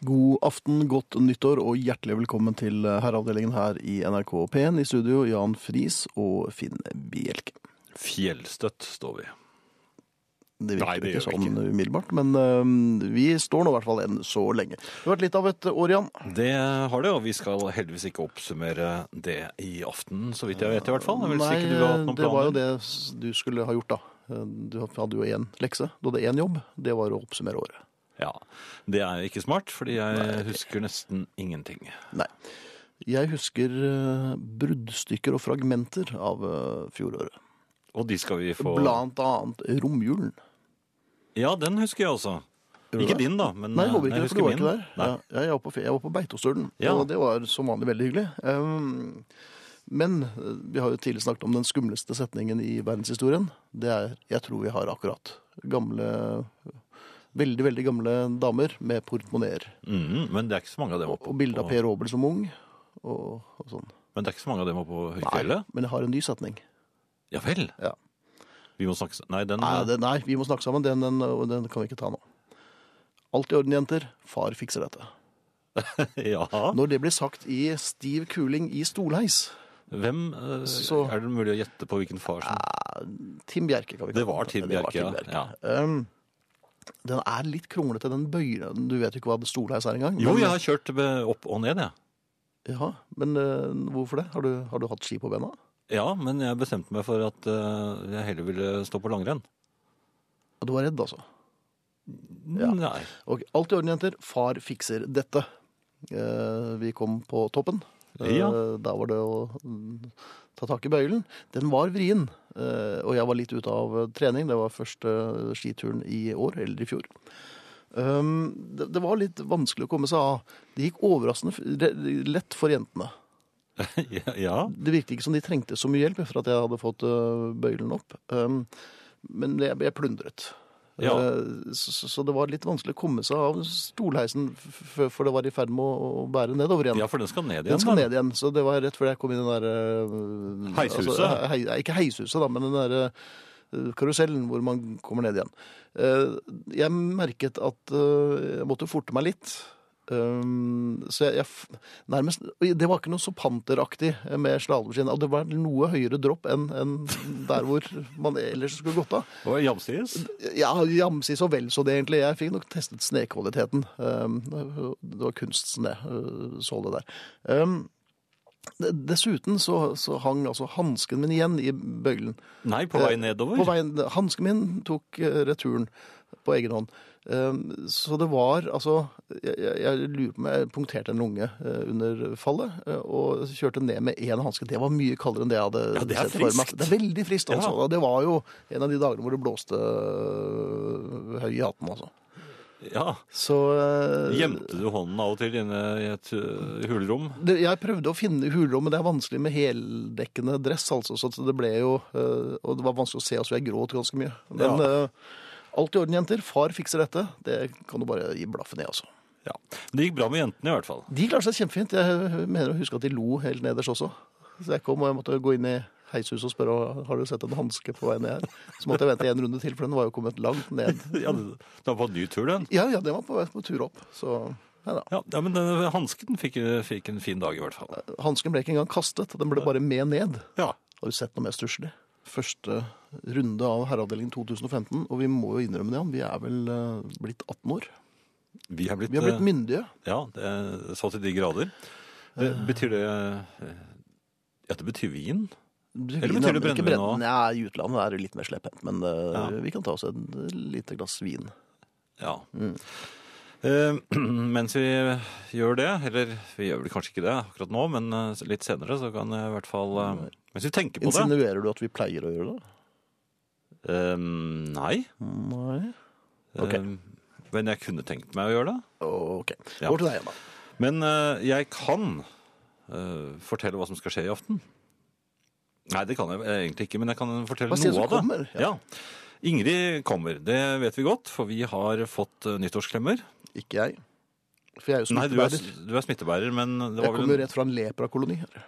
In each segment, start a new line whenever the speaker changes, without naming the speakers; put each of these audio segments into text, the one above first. God aften, godt nyttår og hjertelig velkommen til herreavdelingen her i NRK P1. I studio Jan Friis og Finn Bielke.
Fjellstøtt står vi.
Det
Nei,
virker
det
ikke
gjør vi
sånn umiddelbart, men øhm, vi står nå i hvert fall enn så lenge. Det har vært litt av et år, Jan.
Det har det, og vi skal heldigvis ikke oppsummere det i aften, så vidt jeg vet i hvert fall. Jeg vil si ikke du har hatt noen
det var jo
planer.
det s- du skulle ha gjort, da. Du hadde jo én lekse. Du hadde én jobb. Det var å oppsummere året.
Ja, det er ikke smart, fordi jeg husker nesten ingenting.
Nei. Jeg husker øh, bruddstykker og fragmenter av øh, fjoråret.
Og de skal vi få...
Blant annet romjulen.
Ja, den husker jeg også.
du
Ikke
det?
din da, men eh,
Nei, jeg håper ikke
jeg
det, for du
husker
var
min.
ikke der.
Nei.
Ja, ja, jeg, var på, fe- jeg var på Beitostølen,
Ja.
og det var som vanlig veldig hyggelig. Um, men eh, vi har jo tidligere snakket om den skumleste setningen i verdenshistorien. Det er 'jeg tror vi har akkurat'. Gamle, veldig, veldig gamle damer med portemonneer.
Mhm, men det er ikke så mange av dem oppe
Og bilde av
på...
Per Obel som ung. Og, og sånn.
Men det er ikke så mange av dem oppe på
Nei,
høyfjellet.
men jeg har en ny setning.
Ja vel.
Ja.
Vi må snakke... Nei, den...
Nei, det, nei vi må snakke sammen. Den, den, og den kan vi ikke ta nå. Alt i orden, jenter. Far fikser dette.
Ja.
Når det blir sagt i stiv kuling i stolheis
Hvem... eh,
Så-
Er det mulig å gjette på hvilken far som...
Tim Bjerke, kan vi
Det
kalle
var Tim Bjerke, ja. ja.
Um, den er litt kronglete, den bøyer Du vet jo ikke hva det stolheis er engang.
Jo,
men- eh,
jeg har kjørt be- opp og ned, jeg.
Ja, men eh, hvorfor det? Har du, har du hatt ski på bena?
Ja, men jeg bestemte meg for at eh, jeg heller ville stå på langrenn.
Og Du var redd, altså? Ja.
Nei.
Ok, Alt i orden, jenter. Far fikser dette. Eh, vi kom på toppen. Eh,
Ja.
Da var det å mm, ta tak i bøylen. Den var vrien, eh, og jeg var litt ute av eh, trening. Det var første eh, skituren i år, eller i fjor. Um, det, det var litt vanskelig å komme seg av. Det gikk overraskende f- re- lett for jentene.
ja.
Det virket ikke som de trengte så mye hjelp etter at jeg hadde fått øh, bøylen opp. Um, men jeg, jeg plundret.
Ja.
Eh, Så, så- så det var litt vanskelig å komme seg av stolheisen, f- f- for det var i ferd med å, å bære nedover igjen.
ja, for den skal ned igjen.
Den skal
da.
ned igjen, så det var rett før jeg kom i den der øh,
Heishuset?
Altså, hei, nei, ikke heishuset, da, men den der øh, karusellen hvor man kommer ned igjen. Eh, Jeg merket at øh, jeg måtte forte meg litt. Um, så jeg, jeg f- nærmest Det var ikke noe så panteraktig med slalåmskinn. Og det var noe høyere dropp enn enn der hvor man ellers skulle gått av.
Og jamsides.
Ja, jamsi så vel så det, egentlig. Jeg fikk nok testet snekvaliteten. Um, Det var kunstsne, uh, så det der. Um, d- Dessuten så, så hang altså hansken min igjen i bøylen.
Nei, på vei
Eh,
nedover.
På veien, Hansken min tok eh, returen på egen hånd. Um, Så det var altså Jeg, jeg jeg lurer på om jeg punkterte en lunge eh, under fallet eh, og kjørte ned med én hanske. Det var mye kaldere enn det jeg hadde
Ja, det er
sett for meg.
friskt.
Det er veldig friskt, altså.
Ja.
Det var jo en av de dagene hvor det blåste øh, høy i hatten, altså.
Ja.
Så eh,
Gjemte du hånden av og til inne i et øh, hulrom?
det, jeg prøvde å finne hulrom, men det er vanskelig med heldekkende dress, altså. Så det ble jo øh, Og det var vanskelig å se oss, for jeg gråt ganske mye. Men
Ja.
øh, alt i orden, jenter. Far fikser dette. Det kan du bare gi blaffen i, altså.
Ja. Det gikk bra med jentene i hvert fall.
De klarer seg kjempefint. Jeg mener å huske at de lo helt nederst også. Så jeg kom og jeg måtte gå inn i heishuset og spørre har du sett en hanske på vei ned her. Så måtte jeg vente en runde til, for den var jo kommet langt ned.
Ja, det- det var på en ny tur, den.
Ja, ja, den var på, vei på tur opp. Så nei da.
Ja, ja men den hansken fikk, fikk en fin dag i hvert fall.
Hansken ble ikke engang kastet, den ble bare med ned. Har
Ja.
du sett noe mer stusslig? Første runde av Herreavdelingen 2015, og vi må jo innrømme det, Jan, vi er vel eh, blitt 18 år.
Vi har blitt,
Vi har blitt
øh,
myndige.
Ja, det er så til de grader. Det, betyr det øh, Ja, det betyr vin. Eller betyr det brennevin også?
Nei, i utlandet er det litt mer slepphendt, men eh,
Ja.
vi kan ta oss et lite glass vin.
Ja. Eh, mens vi gjør det, eller vi gjør vel kanskje ikke det akkurat nå, men eh, litt senere så kan jeg i hvert fall eh, Mens vi tenker på det
Insinuerer du at vi pleier å gjøre det?
Eh, Nei.
Nei.
Eh, men jeg kunne tenkt meg å gjøre det.
Ok.
Ja.
Over til deg igjen, da.
Men eh, jeg kan eh, fortelle hva som skal skje i aften. Nei, det kan jeg eh, egentlig ikke, men jeg kan fortelle
Hva sier du
noe av det.
som kommer? Ja.
Ja. Ingrid kommer, det vet vi godt, for vi har fått eh, nyttårsklemmer.
Ikke jeg. For jeg er jo
Nei, du er,
smittebærer.
du er smittebærer, men det
Jeg
var vel
kommer
en
jo rett fra en leprakoloni her.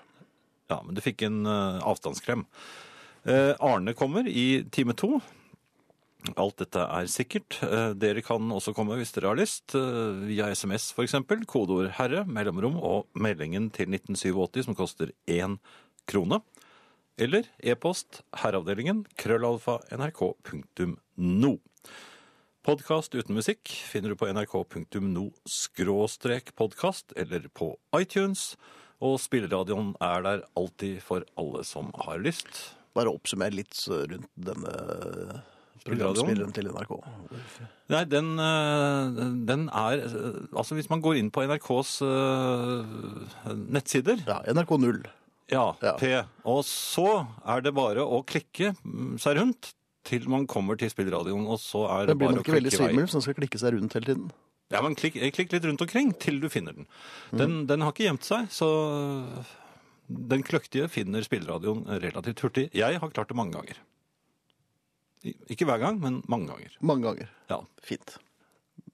Ja, men du fikk en eh, avstandskrem. Eh, Arne kommer i time to. Alt dette er sikkert. Eh, Dere kan også komme hvis dere har lyst, eh, via SMS f.eks. Kodeord 'herre', mellomrom og meldingen til 1987 som koster én krone. Eller e-post herreavdelingen krøllalfa nrk.no. Podkast uten musikk finner du på nrk.no skråstrek podkast eller på iTunes. Og spilleradioen er der alltid for alle som har lyst.
Bare oppsummer litt eh, rundt denne programspilleren til NRK.
Nei, den, eh, den er eh, Altså, hvis man går inn på NRKs eh, nettsider
Ja, NRK 0.
Ja,
Ja.
P. Og så er det bare å klikke mm, seg rundt til man kommer til spillradioen, og så er det
Den blir
bare å
nok ikke veldig
klikke i vei.
svimmel hvis den skal klikke seg rundt hele tiden.
Ja, men klikk, eh, klikk litt rundt omkring til du finner den. Den,
Mm.
den har ikke gjemt seg, så den kløktige finner spillradioen relativt hurtig. Jeg har klart det mange ganger. I- Ikke hver gang, men mange ganger.
Mange ganger.
Ja,
Fint.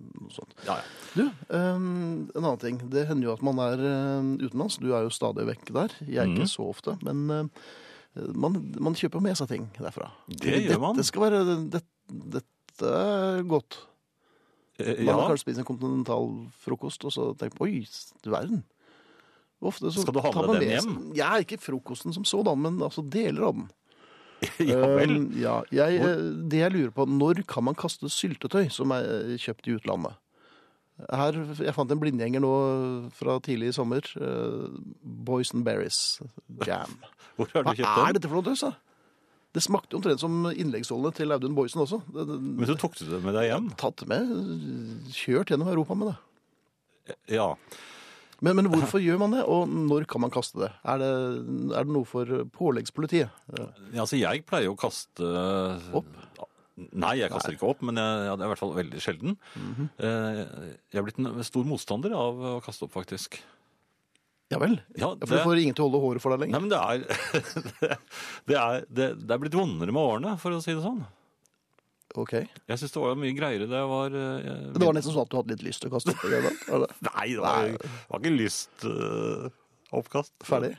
Noe sånt.
ja, ja.
Du, ehm, en annen ting. Det hender jo at man er ehm, utenlands. Du er jo stadig vekk der. Jeg er ikke
Mhm.
så ofte, men ehm, man, man kjøper med seg ting derfra.
Det gjør man.
Dette skal være det, Dette er godt.
Eh,
Man
ja.
har kanskje spist en kontinental frokost og så tenkt på oi, du verden. Ofte så
Skal du ha
tar
med
man
den
seg-
hjem?
Ja, ikke frokosten som sådan, men altså deler av den.
ja vel.
Um, ja, jeg, eh, det jeg lurer på, når kan man kaste syltetøy som er eh, kjøpt i utlandet? Her, jeg fant en blindgjenger nå eh, fra tidlig i sommer. eh, Boys and Berries Jam.
Hvor har
Hva
du kjøpt den?
er dette for noe tøys, da? Det smakte jo omtrent som innleggsholdene til Audun Boysen også. Det, det,
Men så tok du det med deg hjem?
tatt med, eh, kjørt gjennom Europa med det.
Ja.
Men, men hvorfor gjør man det, og når kan man kaste det? Er det, er det noe for påleggspolitiet? Eh,
Altså, jeg pleier jo å kaste
Opp?
Nei, jeg kaster ikke opp, men jeg, ja, det er i hvert fall veldig sjelden.
Mhm.
Eh, Jeg er blitt en stor motstander av å kaste opp, faktisk.
Ja vel? Ja,
Ja,
For du
det-
får ingen til å holde håret for deg lenger?
Nei, men det er Det er, det, det er blitt vondere med årene, for å si det sånn.
Ok.
Jeg syns det var mye greiere da jeg var eh,
Det var nesten sånn at du hadde litt lyst til å kaste opp i det. da? Var det
Nei, det var, det var ikke lyst eh, oppkast.
Ferdig?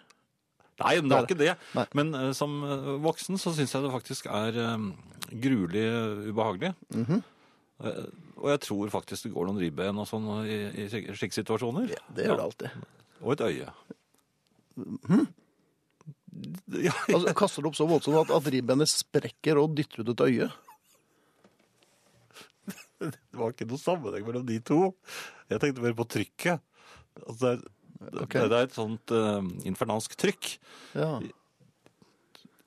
Nei, men det var
Nei.
ikke det.
Nei.
Men eh, som eh, voksen så syns jeg det faktisk er eh, gruelig eh, ubehagelig.
Mhm.
Eh, og jeg tror faktisk det går noen ribben og sånn i, i slik- slike situasjoner.
Det gjør det alltid.
Og et øye.
Mhm.
Ja,
Altså, kaster du opp så voldsomt at, at ribbenet sprekker og dytter ut et øye?
det var ikke noe sammenheng mellom de to. Jeg tenkte mer på trykket. Altså, det, er,
Ok.
det, det er et sånt eh, infernalsk trykk
Ja.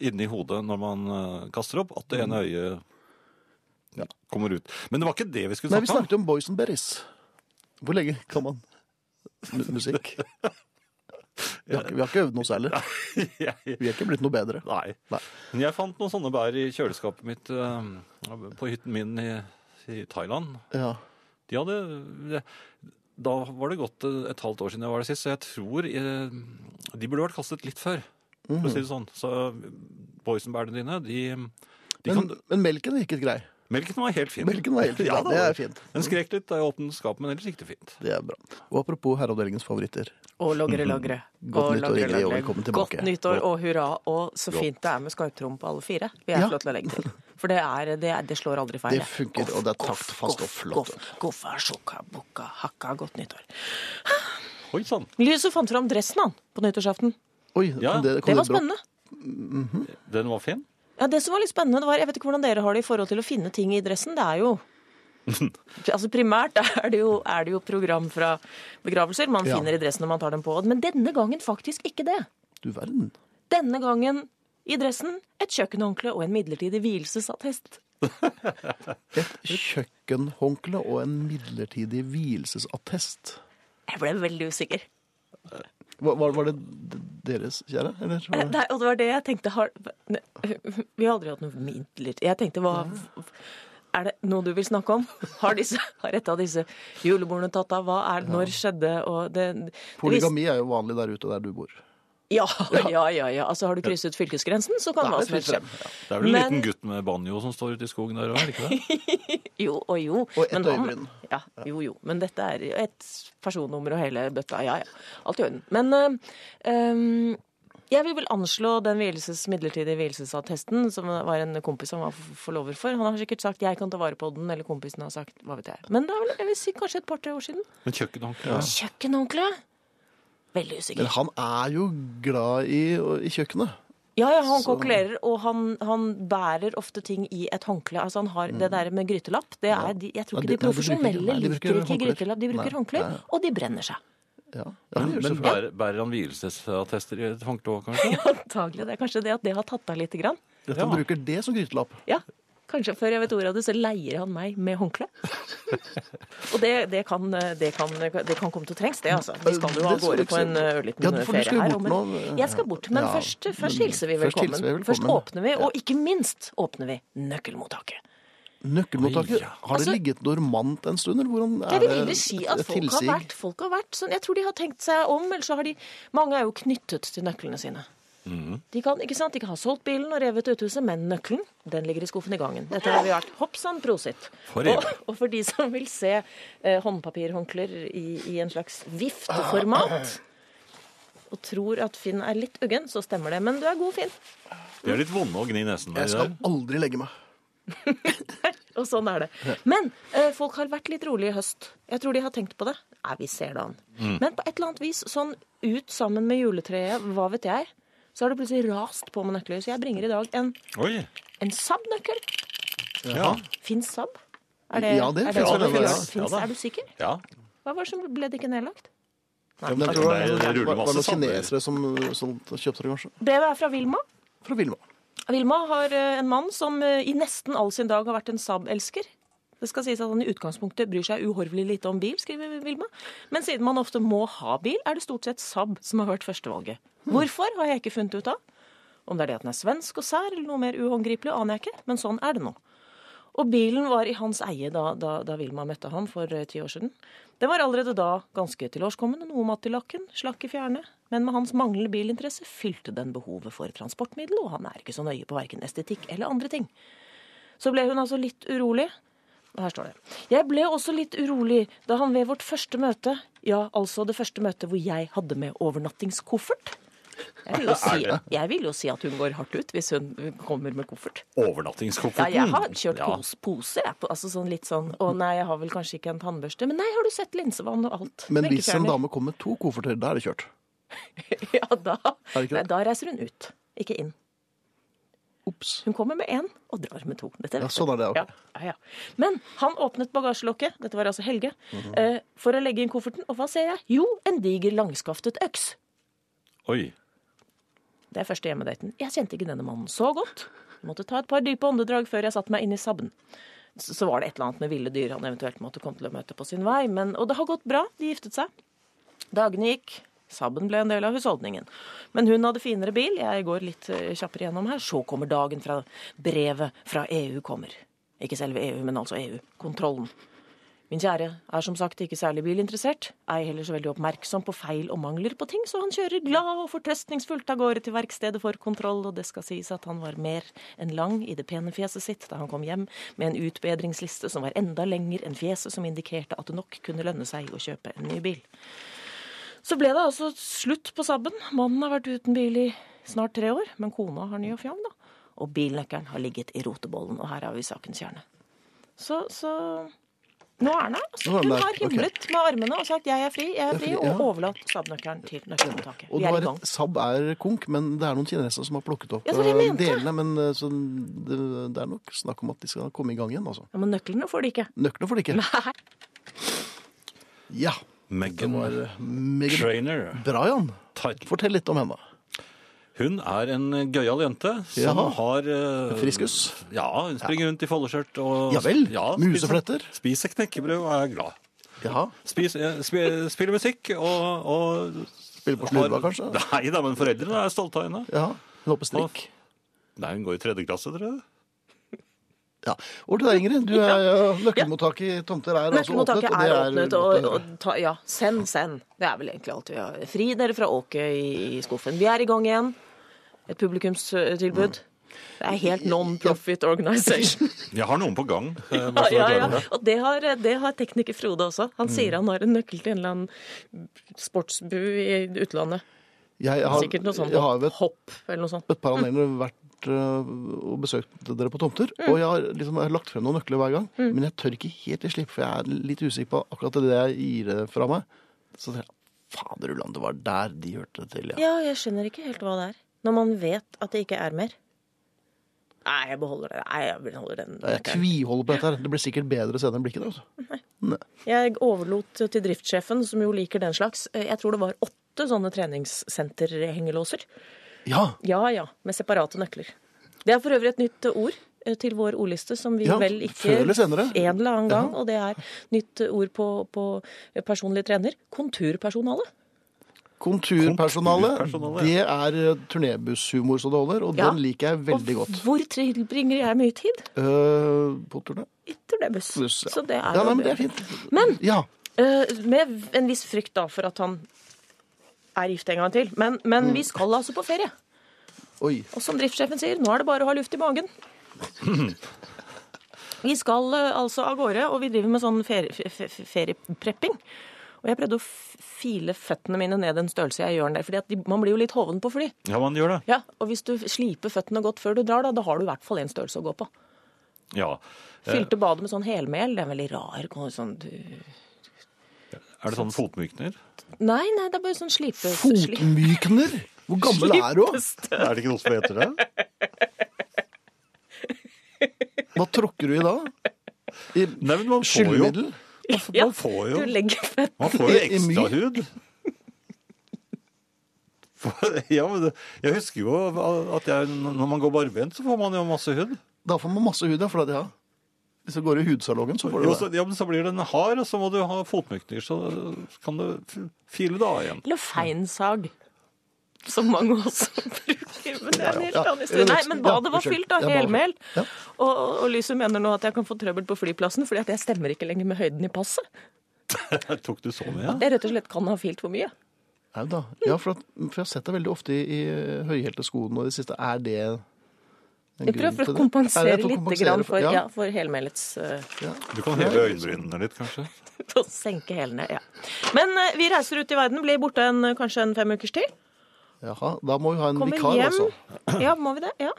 inni hodet når man eh, kaster opp, at det ene
Mm.
øyet kommer ut. Men det var ikke det vi skulle
Nei, vi
snakke om.
snakket om Boys and Berries. Hvor lenge kan man mu- musikk? Vi har, ikke- vi har ikke øvd noe særlig.
Jeg-
Vi er ikke blitt noe bedre.
Nei.
Nei.
Men jeg fant noen sånne bær i kjøleskapet mitt eh, på hytten min i, i Thailand.
Ja.
De hadde Da var det gått eh, et halvt år siden jeg var der sist, så jeg tror eh, de burde vært kastet litt før, for å si det sånn. Så boysenbærene dine, de, de
Men,
kan
men melken gikk grei.
Melken var helt fin.
Melken var helt fin.
Ja,
Ja,
da.
det er fint.
Den skrek litt da jeg åpnet skapet, men ellers gikk det fint.
Det er bra. Og apropos herreavdelingens favoritter.
Og logre, logre.
Godt
og
nyttår,
logre,
Ingrid, og
logre.
velkommen tilbake.
Godt nyttår og hurra. Og så
Godt.
fint det er med skarptrom på alle fire. Vi er
Ja.
flott til å legge til. For det, er, det, er, det slår aldri feil.
Det funker, og det er taktfast og flott.
Goffa, sjokka, bukka, hakka, godt nyttår.
Oi sann!
Lyset fant fram dressen han på nyttårsaften.
Oi,
Ja,
kom det, kom
Det var
brått?
spennende.
Den var fin.
Ja, det som var litt spennende, det var Jeg vet ikke hvordan dere har det i forhold til å finne ting i dressen. Det er jo Altså Primært er det jo, er det jo program fra begravelser man
Ja.
finner i dressen når man tar dem på. Men denne gangen faktisk ikke det.
Du verden.
Denne gangen i dressen, et kjøkkenhåndkle og en midlertidig hvielsesattest.
Et kjøkkenhåndkle og en midlertidig vielsesattest.
Jeg ble veldig usikker.
Var, var, var det d- deres, kjære? Eller? var det-
Eh, Nei, og det var det jeg tenkte har... Ne- Vi har aldri hatt noe midlertidig Jeg tenkte, hva Er det noe du vil snakke om? Har, disse, har et av disse julebordene tatt av? Hva er Når skjedde? Og det, det vis-
Polygami er jo vanlig der ute der du bor.
Ja, ja, ja. ja. Altså, har du krysset fylkesgrensen, så kan
Da er
hva
det
som helst skje.
fritt
Det er vel en
Men-
liten gutt med banjo som står ute i skogen der òg, er det ikke det?
Jo og jo.
Og ett
Men han-
øyebryn.
Ja, jo jo. Men dette er jo et personnummer og hele bøtta. Ja ja. Alt i orden. Men øhm, øhm, eh, Jeg vil vel anslå den vielses, midlertidige vielsesattesten, som var en kompis han var f- forlover for. Han har sikkert sagt 'jeg kan ta vare på den', eller kompisen har sagt 'hva vet jeg'. Men det er vel jeg vil si, kanskje et par-tre år siden.
Men kjøkkenhåndkle ja.
Kjøkkenhåndkle? Veldig usikker.
Men han er jo glad i, i kjøkkenet.
Ja, ja, han kokulerer, og han, han bærer ofte ting i et håndkle. Altså han har Det der med grytelapp det er de, Jeg tror
Nei,
ikke
det-
de,
nei, Mm. de bruker ikke-
profesjonelle
nei, de bruker
liker ikke
håndklær.
grytelapp. De
Nei,
bruker håndklær,
nei.
og de brenner seg.
Ja, ja, det
Men,
gjør
men
selvfølgelig.
bærer, bærer han vielsesattester i et håndkle òg, kanskje?
Antagelig. Det er kanskje det at det har tatt av lite grann.
At han
Ja.
bruker det som grytelapp.
Ja, Kanskje før jeg vet ordet av det, så leier han meg med håndkle. og det, det, kan, det, kan, det kan komme til å trengs, det, altså. Vi skal jo
Det
av
skal
gårde
vi
på en
se.
ørliten
Ja, for du skal
ferie
jo
her.
bort
om en-
nå. eh,
Jeg skal bort, men
Ja,
først, først
men
hilser vi
først
velkommen.
hilser vi velkommen.
Først åpner vi, og ikke minst åpner vi nøkkelmottaket.
Nøkkelmottaker.
Oi, ja.
Har det
Altså-
ligget dormant en stund, eller hvordan er
Jeg vil heller si
et-
at
et
folk har
tilsig?
vært, folk har vært sånn. Jeg tror de har tenkt seg om, eller så har de Mange er jo knyttet til nøklene sine.
Mhm.
De kan, ikke sant? De kan ha solgt bilen og revet uthuset, men nøkkelen den ligger i skuffen i gangen. Dette har vi vært hopp sann prosit.
For
Og,
evig.
og for de som vil se eh, håndpapirhåndklær i, i en slags vifteformat, og tror at Finn er litt uggen, så stemmer det. Men du er god, Finn.
De er litt vonde å gni nesen med.
Jeg
de
skal
der.
aldri legge meg.
Og sånn er det. Men eh, folk har vært litt rolige i høst. Jeg tror de har tenkt på det. Nei, vi ser det an. Men på et eller annet vis, sånn ut sammen med juletreet, hva vet jeg, så har det plutselig rast på med nøkler. Så jeg bringer i dag en,
Oi!
en Saab-nøkkel.
Ja.
Fins Saab?
Ja, det
er,
finnes
sånn
vel
det
ennå, ja.
finnes? Finnes-
Ja da.
er du sikker?
ja.
Hva var det som ble det ikke nedlagt?
Ja, men jeg tror
Nei,
det,
det
var-
ruller
var
masse
noen
sand, eller?
kinesere som, som kjøpte det, kanskje.
Brevet er fra Vilma.
Fra Vilma.
Vilma har eh, en mann som eh, i nesten all sin dag har vært en Saab-elsker. Det skal sies at han i utgangspunktet bryr seg uhorvelig lite om bil, skriver Vilma. Men siden man ofte må ha bil, er det stort sett Saab som har vært førstevalget. Hvorfor har jeg ikke funnet ut av. Om det er det at den er svensk og sær, eller noe mer uhåndgripelig, aner jeg ikke, men sånn er det nå. Og bilen var i hans eie da, da, da Vilma møtte ham for eh, ti år siden. Den var allerede da ganske tilårskommen, noe matt i lakken, slakk i fjerne. Men med hans manglende bilinteresse fylte den behovet for transportmiddel, og han er ikke så nøye på verken estetikk eller andre ting. Så ble hun altså litt urolig. Her står det. Jeg ble også litt urolig da han ved vårt første møte, ja, altså det første møtet hvor jeg hadde med overnattingskoffert jeg vil, jo si, jeg vil jo si at hun går hardt ut hvis hun kommer med koffert. Ja,
Overnattingskofferten.
jeg har kjørt
Ja.
pos poser, jeg. på- Altså sånn litt sånn Å nei, jeg har vel kanskje ikke en tannbørste. Men nei, har du sett linsevann og alt?
Men hvis en
Melkefjerner.
dame kommer med to kofferter, da er det kjørt.
Ja, da,
det ikke det?
nei, da reiser hun ut. Ikke inn.
Ops.
Hun kommer med én og drar med to. Dette
Ja,
vet du.
sånn er det, ok.
Ja, ja, ja. Men han åpnet bagasjelokket, dette var altså Helge,
Mhm.
eh, for å legge inn kofferten, og hva ser jeg? Jo, en diger langskaftet øks.
Oi.
Det er første hjemmedaten. Jeg kjente ikke denne mannen så godt. Jeg måtte ta et par dype åndedrag før jeg satte meg inn i sabben. Så så var det et eller annet med ville dyr han eventuelt måtte komme til å møte på sin vei. Men, og det har gått bra. De giftet seg. Dagene gikk. Sabben ble en del av husholdningen. Men hun hadde finere bil. Jeg går litt eh, kjappere gjennom her. Så kommer dagen fra brevet fra EU kommer. Ikke selve EU, men altså EU. Kontrollen. Min kjære er som sagt ikke særlig bilinteressert, ei heller så veldig oppmerksom på feil og mangler på ting, så han kjører glad og fortrøstningsfullt av gårde til verkstedet for kontroll, og det skal sies at han var mer enn lang i det pene fjeset sitt da han kom hjem med en utbedringsliste som var enda lenger enn fjeset som indikerte at det nok kunne lønne seg å kjøpe en ny bil. Så ble det altså slutt på sabben. Mannen har vært uten bil i snart tre år, men kona har ny og fjern, da. Og bilnøkkelen har ligget i rotebollen, og her har vi sakens kjerne. Så, så nå er den her. Altså,
Nå er den
hun
der,
har
ok.
himlet med armene og sagt 'jeg er fri', 'jeg er fri',
ja.
og overlatt sabnøkkelen til nøkkelmottaket.
Og
Vi
det
er
var
i gang.
et Saab er konk, men det er noen kinesere som har plukket opp
Ja, det var det jeg
eh,
mente.
delene. Men eh, så det, det er nok snakk om at de skal komme i gang igjen, altså.
Ja, men nøklene får de ikke.
Nøklene får de ikke.
Nei.
Ja.
Megan
eh, Meget
Trainer.
bra, Jan.
Title.
Fortell litt om henne.
Hun er en gøyal jente som
Jaha.
har eh,
Friskus?
Ja, hun springer rundt i foldeskjørt og
Ja vel,
spiser-
musefletter.
Spiser knekkebrød og er glad.
Ja.
Spis, eh, spi- spiller musikk og, og
Spiller på
har-
slurva, kanskje?
Nei da, men foreldrene er stolte av henne.
Ja. Hun hopper strikk.
Nei, hun går i tredje klasse, tror jeg.
Ja. Over til deg, Ingrid. Du er ja, nøkkelmottaket i Tomter er altså åpnet.
Nøkkelmottaket
og
er
det
åpnet,
godt å
og,
høre.
og ta, ja, send, send. Det er vel egentlig alt vi har. Fri dere fra åket i, i skuffen. Vi er i gang igjen. Et publikumstilbud. Det er helt non-profit organization.
Jeg har noen på gang. eh, bare så
Ja,
du er
ja,
klar
ja.
over det.
Og det har, det har tekniker
Mm.
Frode også. Han sier han har en nøkkel til en eller annen sportsbu i utlandet.
Jeg har,
Sikkert noe sånt
jeg har jo et,
hopp eller noe sånt.
et par anledninger vært øh, og besøkt dere på tomter.
Mm.
Og jeg har, liksom, jeg har lagt frem noen nøkler hver gang, men jeg tør ikke helt til slipp, for jeg er litt usikker på akkurat det jeg gir det fra meg. Så tenker jeg, fader Ulland, det var der de hørte det til, ja.
Ja, jeg skjønner ikke helt hva det er. Når man vet at det ikke er mer. Nei, jeg beholder det. Nei, jeg beholder den.
Jeg tviholder på dette her. Det blir sikkert bedre senere enn blikket. Altså.
Jeg overlot til driftssjefen, som jo liker den slags. Jeg tror det var åtte sånne treningssenterhengelåser.
Ja,
Ja ja, med separate nøkler. Det er for øvrig et nytt ord eh, til vår ordliste, som vi
Ja,
vel ikke
før eller senere.
en eller annen gang. Og det er nytt ord på, på personlig trener. Konturpersonale.
Konturpersonalet,
Konturpersonale,
det er eh, turnébusshumor så det holder, og
Ja.
den liker jeg veldig godt.
Og hvor tilbringer jeg mye tid?
Eh, på turné?
Etter det buss.
Buss, ja.
Så det er
Ja,
jo
nei, men det
bra.
er fint.
Men-
Ja,
Eh, med en viss frykt da for at han er gift en gang til. Men, men
Mm.
vi skal altså på ferie.
oi.
Og som driftssjefen sier, nå er det bare å ha luft i magen. Vi skal eh, altså av gårde, og vi driver med sånn ferie- fe- fe- fe- ferieprepping. Og jeg prøvde å f- file føttene mine ned en størrelse jeg gjør den der. For man blir jo litt hoven på fly.
Ja, man gjør det.
Ja, Og hvis du sliper føttene godt før du drar, da, da har du i hvert fall én størrelse å gå på.
Ja.
Fylte badet med sånn helmel. Det er en veldig rar sånn du...
Er det sånn fotmykner?
Nei, nei, det er bare sånn slipe... sli-
Fotmykner? Hvor gammel er du?
Er det ikke noe som heter det?
Hva tråkker du i da? I
Nei, men man får jo,
skyllemiddel?
Ja,
man får jo,
Du legger fett.
man får jo
I- i myr.
ekstra hud. For- Ja, men det, jeg husker jo at jeg, når man går barbent, så får man jo masse hud.
Da får man masse hud, ja. For at, ja. Hvis du går i hudsalongen, så får
Jo,
du
så,
det.
ja, men så blir den hard, og så må du ha fotmykner, så kan du f- file det av igjen.
Eller feinsag. Som mange også bruker. Men det er en helt
Ja, ja.
annen historie. Nei, men badet var
Ja,
fylt av
unnskyld. Ja, badet var
helmel.
Ja.
Og, og, og Lyse mener nå at jeg kan få trøbbel på flyplassen fordi at jeg stemmer ikke lenger med høyden i passet.
Der tok du så mye?
Jeg rett og slett kan ha filt for mye.
Nei, da. Ja, for, at, for jeg har sett deg veldig ofte i, i høyhælte sko nå i det siste. Er det en
Jeg prøver for
Nei,
å kompensere
jeg tror
litt
kompensere
grann for,
ja.
ja, for helmelets eh,
Du kan heve øyenbrynene litt, kanskje?
å senke hælene. Ja. Men eh, vi reiser ut i verden, blir borte en, kanskje en fem ukers tid.
Jaha, da må vi ha en
Kommer
vikar,
hjem.
altså.
Ja, må vi det? Ja.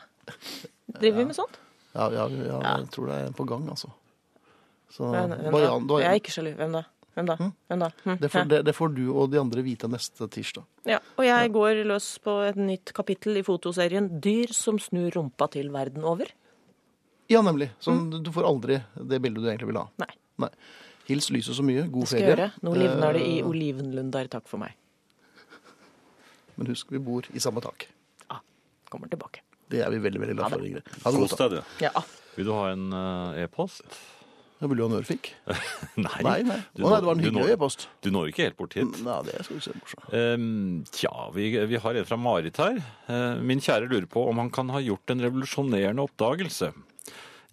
Driver vi med sånt?
Ja, ja, ja, jeg tror det er en på gang, altså. Så,
Hvem, hvem da?
Marianne, du har-
Jeg er ikke sjalu. Hvem da? Hvem da? Hvem da? Hm?
det, får, det, det får du og de andre vite neste tirsdag.
Ja, og jeg går løs på et nytt kapittel i fotoserien 'Dyr som snur rumpa til verden over'.
Ja, nemlig. Så
Mm.
du får aldri det bildet du egentlig vil ha.
Nei.
Nei. Hils lyset så mye. God
Det skal
ferie.
jeg gjøre. Nå livner det i
Eh,
olivenlunder. Takk for meg.
Men husk, vi bor i samme tak.
Ah, kommer tilbake.
Det er vi veldig veldig glad for. Ingrid. Ha det
Kos
godt. da.
deg, du.
Ja.
Vil du ha en eh, e-post?
Da vil du ha en ørefik?
Nei.
Nei, nei.
Du
Å nei, det var en
når- du
hyggelig
når-
e-post.
Du når ikke helt bort hit.
Nei, det skal vi se morsomt.
Ehm, tja, vi, vi har en fra Marit her. Eh, min kjære lurer på om han kan ha gjort en revolusjonerende oppdagelse.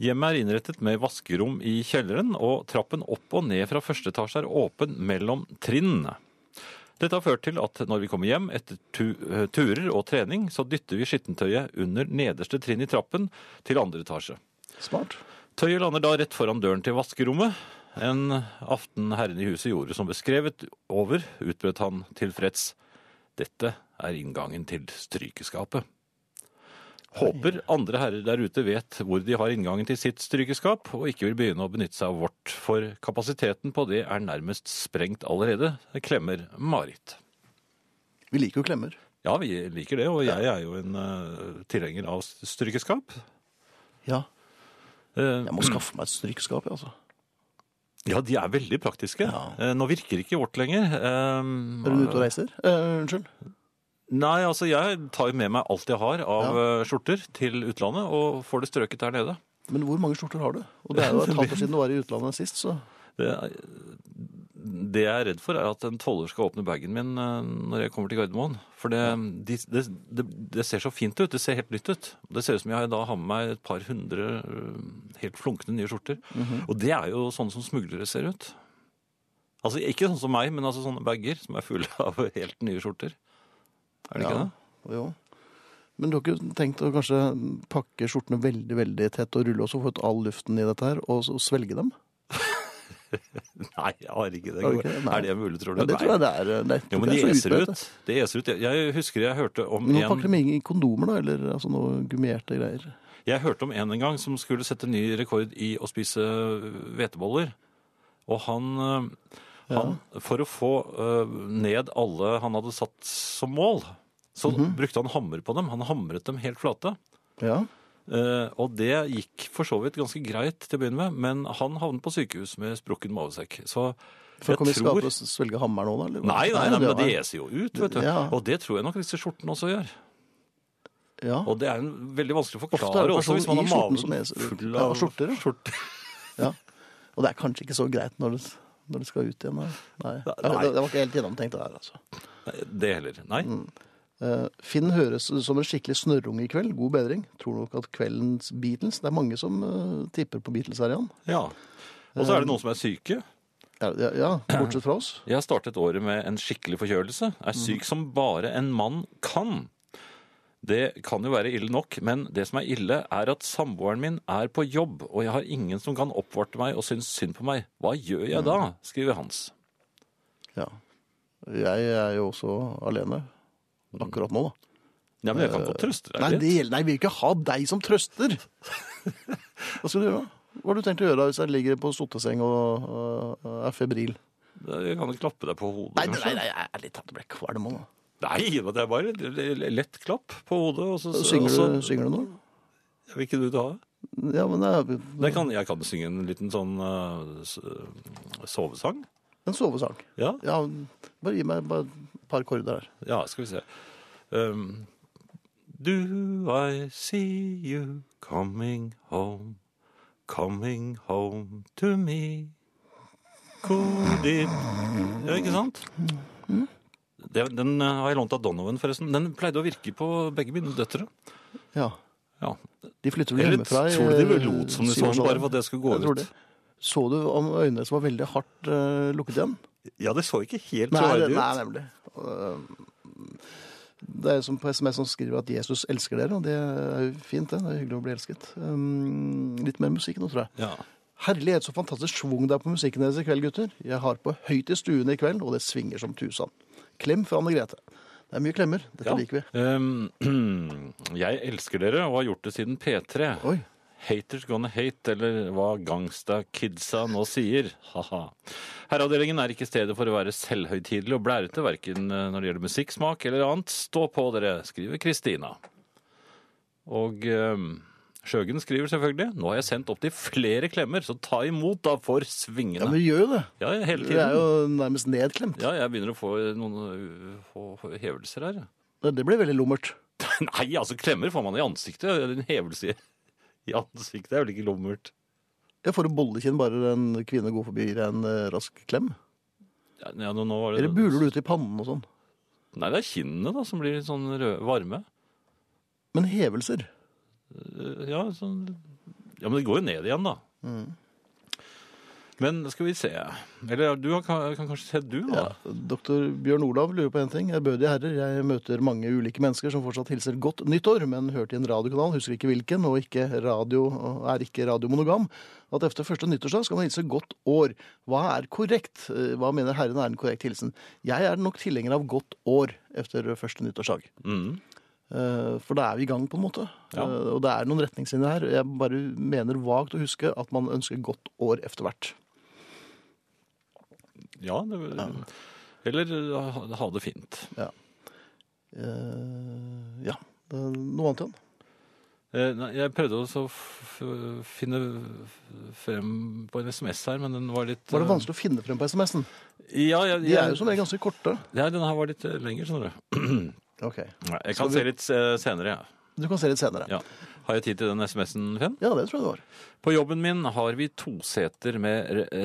Hjemmet er innrettet med vaskerom i kjelleren, og trappen opp og ned fra første etasje er åpen mellom trinnene. Dette har ført til at når vi kommer hjem etter tu eh, turer og trening, så dytter vi skittentøyet under nederste trinn i trappen til andre etasje.
Smart.
Tøyet lander da rett foran døren til vaskerommet. En aften herren i huset gjorde som beskrevet over, utbrøt han tilfreds. Dette er inngangen til strykeskapet. Håper andre herrer der ute vet hvor de har inngangen til sitt strykeskap, og ikke vil begynne å benytte seg av vårt, for kapasiteten på det er nærmest sprengt allerede, klemmer Marit.
Vi liker jo klemmer.
Ja, vi liker det, og jeg er jo en eh, tilhenger av strykeskap.
Ja.
Eh,
Jeg må skaffe meg et strykeskap, jeg, altså.
Ja, de er veldig praktiske.
Ja.
Eh, Nå virker ikke vårt lenger. Eh,
Er du ute og reiser? Eh, unnskyld.
Nei, altså jeg tar jo med meg alt jeg har av eh, skjorter til utlandet, og får det strøket der nede.
Men hvor mange skjorter har du? Og det er jo et halvt år siden du var i utlandet sist, så
Det, er- det jeg er redd for, er at en toller skal åpne bagen min eh, når jeg kommer til Gardermoen. For det, de, det, det, det ser så fint ut. Det ser helt nytt ut. Det ser ut som jeg da har med meg et par hundre eh, helt flunkende nye skjorter.
Mhm.
Og det er jo sånn som smuglere ser ut. Altså Ikke sånn som meg, men altså sånne bager som er fulle av helt nye skjorter. Er det ikke
Ja.
det?
jo. Men du har ikke tenkt å kanskje pakke skjortene veldig veldig tett og rulle, og så få ut all luften i dette her, og så svelge dem?
Nei, jeg har ikke det.
Har du ikke det? Nei.
Er det mulig, tror du?
Men det tror jeg det er. Nei,
Jo, men
det
de
er så
eser
utbredt,
ut. De eser ut. Jeg- Jeg husker jeg hørte om
Men Nå pakker
en
de inn i kondomer, da, eller altså, noe gummierte greier.
Jeg hørte om en en gang som skulle sette ny rekord i å spise øh, hveteboller. Og han, eh, han For å få eh, ned alle han hadde satt som mål, så
Mhm.
brukte han hammer på dem. Han hamret dem helt flate.
Ja.
Eh, og det gikk for så vidt ganske greit til å begynne med, men han havnet på sykehus med sprukken mavesekk. Så
For å komme i
jeg tror
skade og svelge hammer nå, da? eller?
Nei, nei, nei, men
det
det eser jo ut, vet du.
Ja.
Og det tror jeg nok disse skjortene også gjør.
Ja.
Og det er jo veldig vanskelig å
Ofte er
forklare
det
også hvis
personen
man har
i skjorten som
magen
eser ut.
full
Ja,
av
og skjorter, ja.
skjorter.
ja. Og det er kanskje ikke så greit når det, når det skal ut igjen? da. Nei.
Nei.
Det, det var ikke helt gjennomtenkt, det der, altså.
Nei, Det heller. Nei.
Eh, Finn høres som en skikkelig snørrunge i kveld. God bedring. Tror nok at kveldens Beatles Det er mange som eh, tipper på Beatles her igjen.
Ja. Og så er det noen som er syke.
Ja, ja, ja, bortsett fra oss.
Jeg har startet året med en skikkelig forkjølelse. Er
Mm.
syk som bare en mann kan. Det kan jo være ille nok, men det som er ille, er at samboeren min er på jobb, og jeg har ingen som kan oppvarte meg og synes synd på meg. Hva gjør jeg da?
Mm.
skriver Hans.
Ja. Jeg er jo også alene akkurat nå, da.
Ja, men jeg kan godt trøste
Eh, Nei,
deg
det
litt.
gjelder, nei, vi vil ikke ha deg som trøster! Hva skal du gjøre? Hva har du tenkt å gjøre hvis jeg ligger på sotteseng og øh, er febril?
Jeg kan klappe deg på hodet.
Nei, nei,
kanskje.
nei, nei ærlig talt, jeg ble kvalm òg.
Nei, men det er bare et lett klapp på hodet. Og så,
Synger,
og
du-
så,
synger du noe?
Vil ikke du ta det?
Ja, men det er
Jeg kan, jeg kan synge en liten sånn eh, s- sovesang.
en sovesang.
Ja,
Ja, bare gi meg bare et par korder her.
ja skal vi se. Um, Do I see you coming home, coming home to me? Could it Ja, ikke sant? Det, den eh, har jeg lånt av Donovan, forresten. Den pleide å virke på begge mine døtre.
Ja.
Ja,
De flytter vel
Eller
hjemmefra i
tror du de
eh,
lot som de
syvårsalderen?
sov bare for at det skulle gå
Jeg tror
ut?
det. Så du om øynene som var veldig hardt eh, lukket igjen?
Ja, det så ikke helt
Nei,
troverdig
det- nei,
ut.
nemlig. Og, um, Det er som på SMS som skriver at Jesus elsker dere, og det er jo fint, det. Det er hyggelig å bli elsket. Um, Litt mer musikk nå, tror jeg.
Ja.
Herlighet, så fantastisk schwung det er på musikken deres i kveld, gutter. Jeg har på høyt i stuene i kveld, og det svinger som tusen. Klem fra Anne Grete. Det er mye klemmer. Dette
Ja.
liker vi.
Ehm, jeg elsker dere og har gjort det siden P3.
Oi.
Haters gonna hate, eller hva gangsta kidsa nå sier. Haha. Herreavdelingen er ikke stedet for å være selvhøytidelig og blærete, verken når det gjelder musikksmak eller annet. Stå på dere, skriver Kristina. Og ehm, Sjøgen skriver selvfølgelig Nå har jeg sendt opptil flere klemmer, så ta imot da for
Ja,
svingene.
men vi gjør jo det.
Ja, hele
Vi er
tiden.
jo nærmest nedklemt.
Ja, jeg begynner å få noen uh, få hevelser her.
Det blir veldig lummert.
Nei, altså klemmer får man i ansiktet. eller En hevelse i- i ansiktet er vel ikke lummert.
Jeg får et bollekinn bare en kvinne går forbi og gir deg en eh, rask klem.
Ja, ja, nå, nå var det,
Eller buler du ut i pannen og sånn.
Nei, det er kinnene da, som blir litt sånn rød, varme.
Men hevelser.
Eh, Ja, sånn, ja, men det går jo ned igjen da.
Mm.
Men skal vi se. Eller du har- kan, kan kanskje se du da.
Ja. Doktor Bjørn Olav lurer på en ting. Ærbødige herrer, jeg møter mange ulike mennesker som fortsatt hilser godt nyttår, men hørte i en radiokanal, husker ikke hvilken, og ikke radio, og er ikke radiomonogam, at efter første nyttårsdag skal man hilse godt år. Hva er korrekt? Eh, Hva mener herren er en korrekt hilsen? Jeg er nok tilhenger av godt år efter første nyttårsdag.
Mm.
Eh, For da er vi i gang, på en måte.
Ja.
Eh, Og det er noen retningslinjer her. Jeg bare mener vagt å huske at man ønsker godt år efter hvert.
Ja, det, Eller eh, ha, ha det fint.
Eh, Ja. Det er Noe annet igjen?
Eh, Nei, jeg prøvde også å f- f- finne f- frem på en sms her, men den var litt...
Var det
eh,
vanskelig å finne frem på SMS-en?
Ja, jeg,
De er jo som regel ganske korte.
Ja, den her var litt eh, lenger, skjønner du. Nei, Jeg
Skal
kan
vi-
se litt eh, senere. jeg.
Du kan se litt senere. Ja,
Ja. Har jeg tid til den SMS-en, Finn?
det tror jeg det var.
På jobben min har vi toseter med re-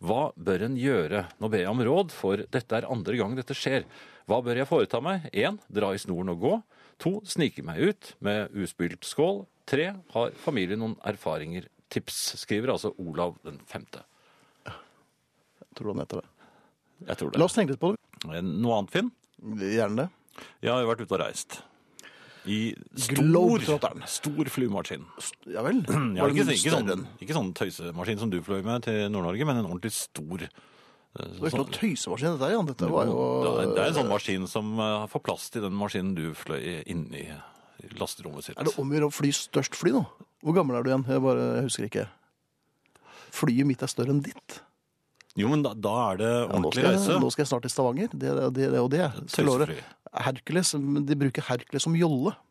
Hva bør en gjøre? Nå ber jeg om råd, for dette er andre gang dette skjer. Hva bør jeg foreta meg? 1. Dra i snoren og gå. 2. Snike meg ut med uspylt skål. 3. Har familien noen erfaringer? Tips, skriver altså Olav den femte.
Tror du han heter det?
Jeg tror det. Eh,
La oss tenke litt på det.
Noe annet, Finn?
Gjerne det.
Jeg har jo vært ute og reist. I stor,
Globetrotteren.
stor flymaskin.
Ja vel.
Ja,
Var det
ikke,
mye
ikke,
større
sånn,
enn-
ikke sånn tøysemaskin som du fløy med til Nord-Norge, men en ordentlig stor eh,
Det var ikke
sånn-
noe tøysemaskin, dette her, Jan. Dette var jo
det, er, det er en sånn maskin som eh, får plass til den maskinen du fløy inni i lasterommet sitt.
Er det om å gjøre å fly størst fly nå? Hvor gammel er du igjen? Jeg bare jeg husker ikke. Flyet mitt er større enn ditt.
Jo, men da, da er det
Ja, nå,
ordentlig
skal jeg,
reise.
nå skal jeg snart til Stavanger. Det er det, det og det. Skal love
Tøysefly.
deg. Hercules, men de bruker Hercules som jolle.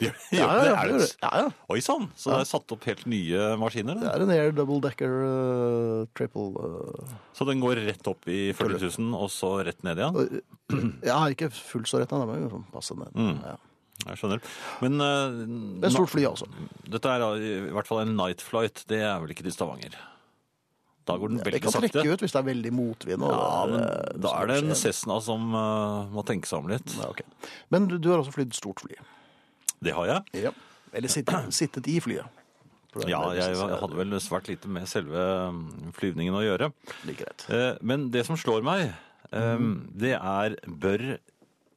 Ja, ja, det er det.
ja, ja.
Oi sann! Så det er satt opp helt nye maskiner.
Det
da.
er en air double decker eh, triple eh,
Så den går rett opp i 40 000, og så rett ned igjen.
Jeg har ikke fullt så rett, nei, men sånn passe ned.
Mm.
Ja.
Jeg skjønner. Men
Det er
eh,
stort fly, altså.
Dette er i hvert fall en night flight. Det er vel ikke til Stavanger? Da går den
Det
veldig
kan
sakte.
trekke ut hvis det er veldig motvind. og
Ja,
Eh, det
men
er-
da er det en
skjer.
Cessna som eh, må tenke seg om litt.
Ja, ok. Men du, du har også flydd stort fly.
Det har jeg.
Ja. Eller sittet, sittet i flyet. For det er
Ja,
mer
jeg
sånn-
hadde vel svært lite med selve mm, flyvningen å gjøre.
Like rett.
Eh, Men det som slår meg, eh,
Mm.
det er bør,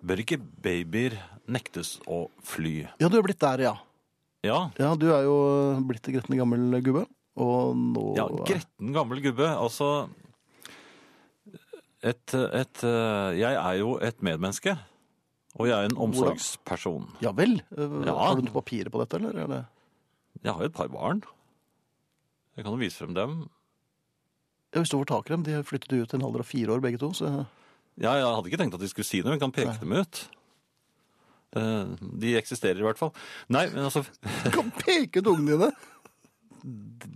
bør ikke babyer nektes å fly?
Ja, du er blitt der, ja.
Ja,
Ja, Du er jo blitt en gretten gammel gubbe. Og nå
ja gretten gammel gubbe. Altså et, et eh, Jeg er jo et medmenneske. Og jeg er en
Hvordan?
omsorgsperson.
Ja vel? Eh,
Ja.
Har du noen papirer på dette, eller? Er det...
Jeg har jo et par barn. Jeg kan jo vise frem dem.
Ja, Hvis du får tak i dem. De flyttet jo ut i en alder av fire år, begge to. Så...
Ja, jeg hadde ikke tenkt at de skulle si noe, men kan peke dem ut. Eh, De eksisterer i hvert fall. Nei, men altså
Du kan peke ut ungene dine!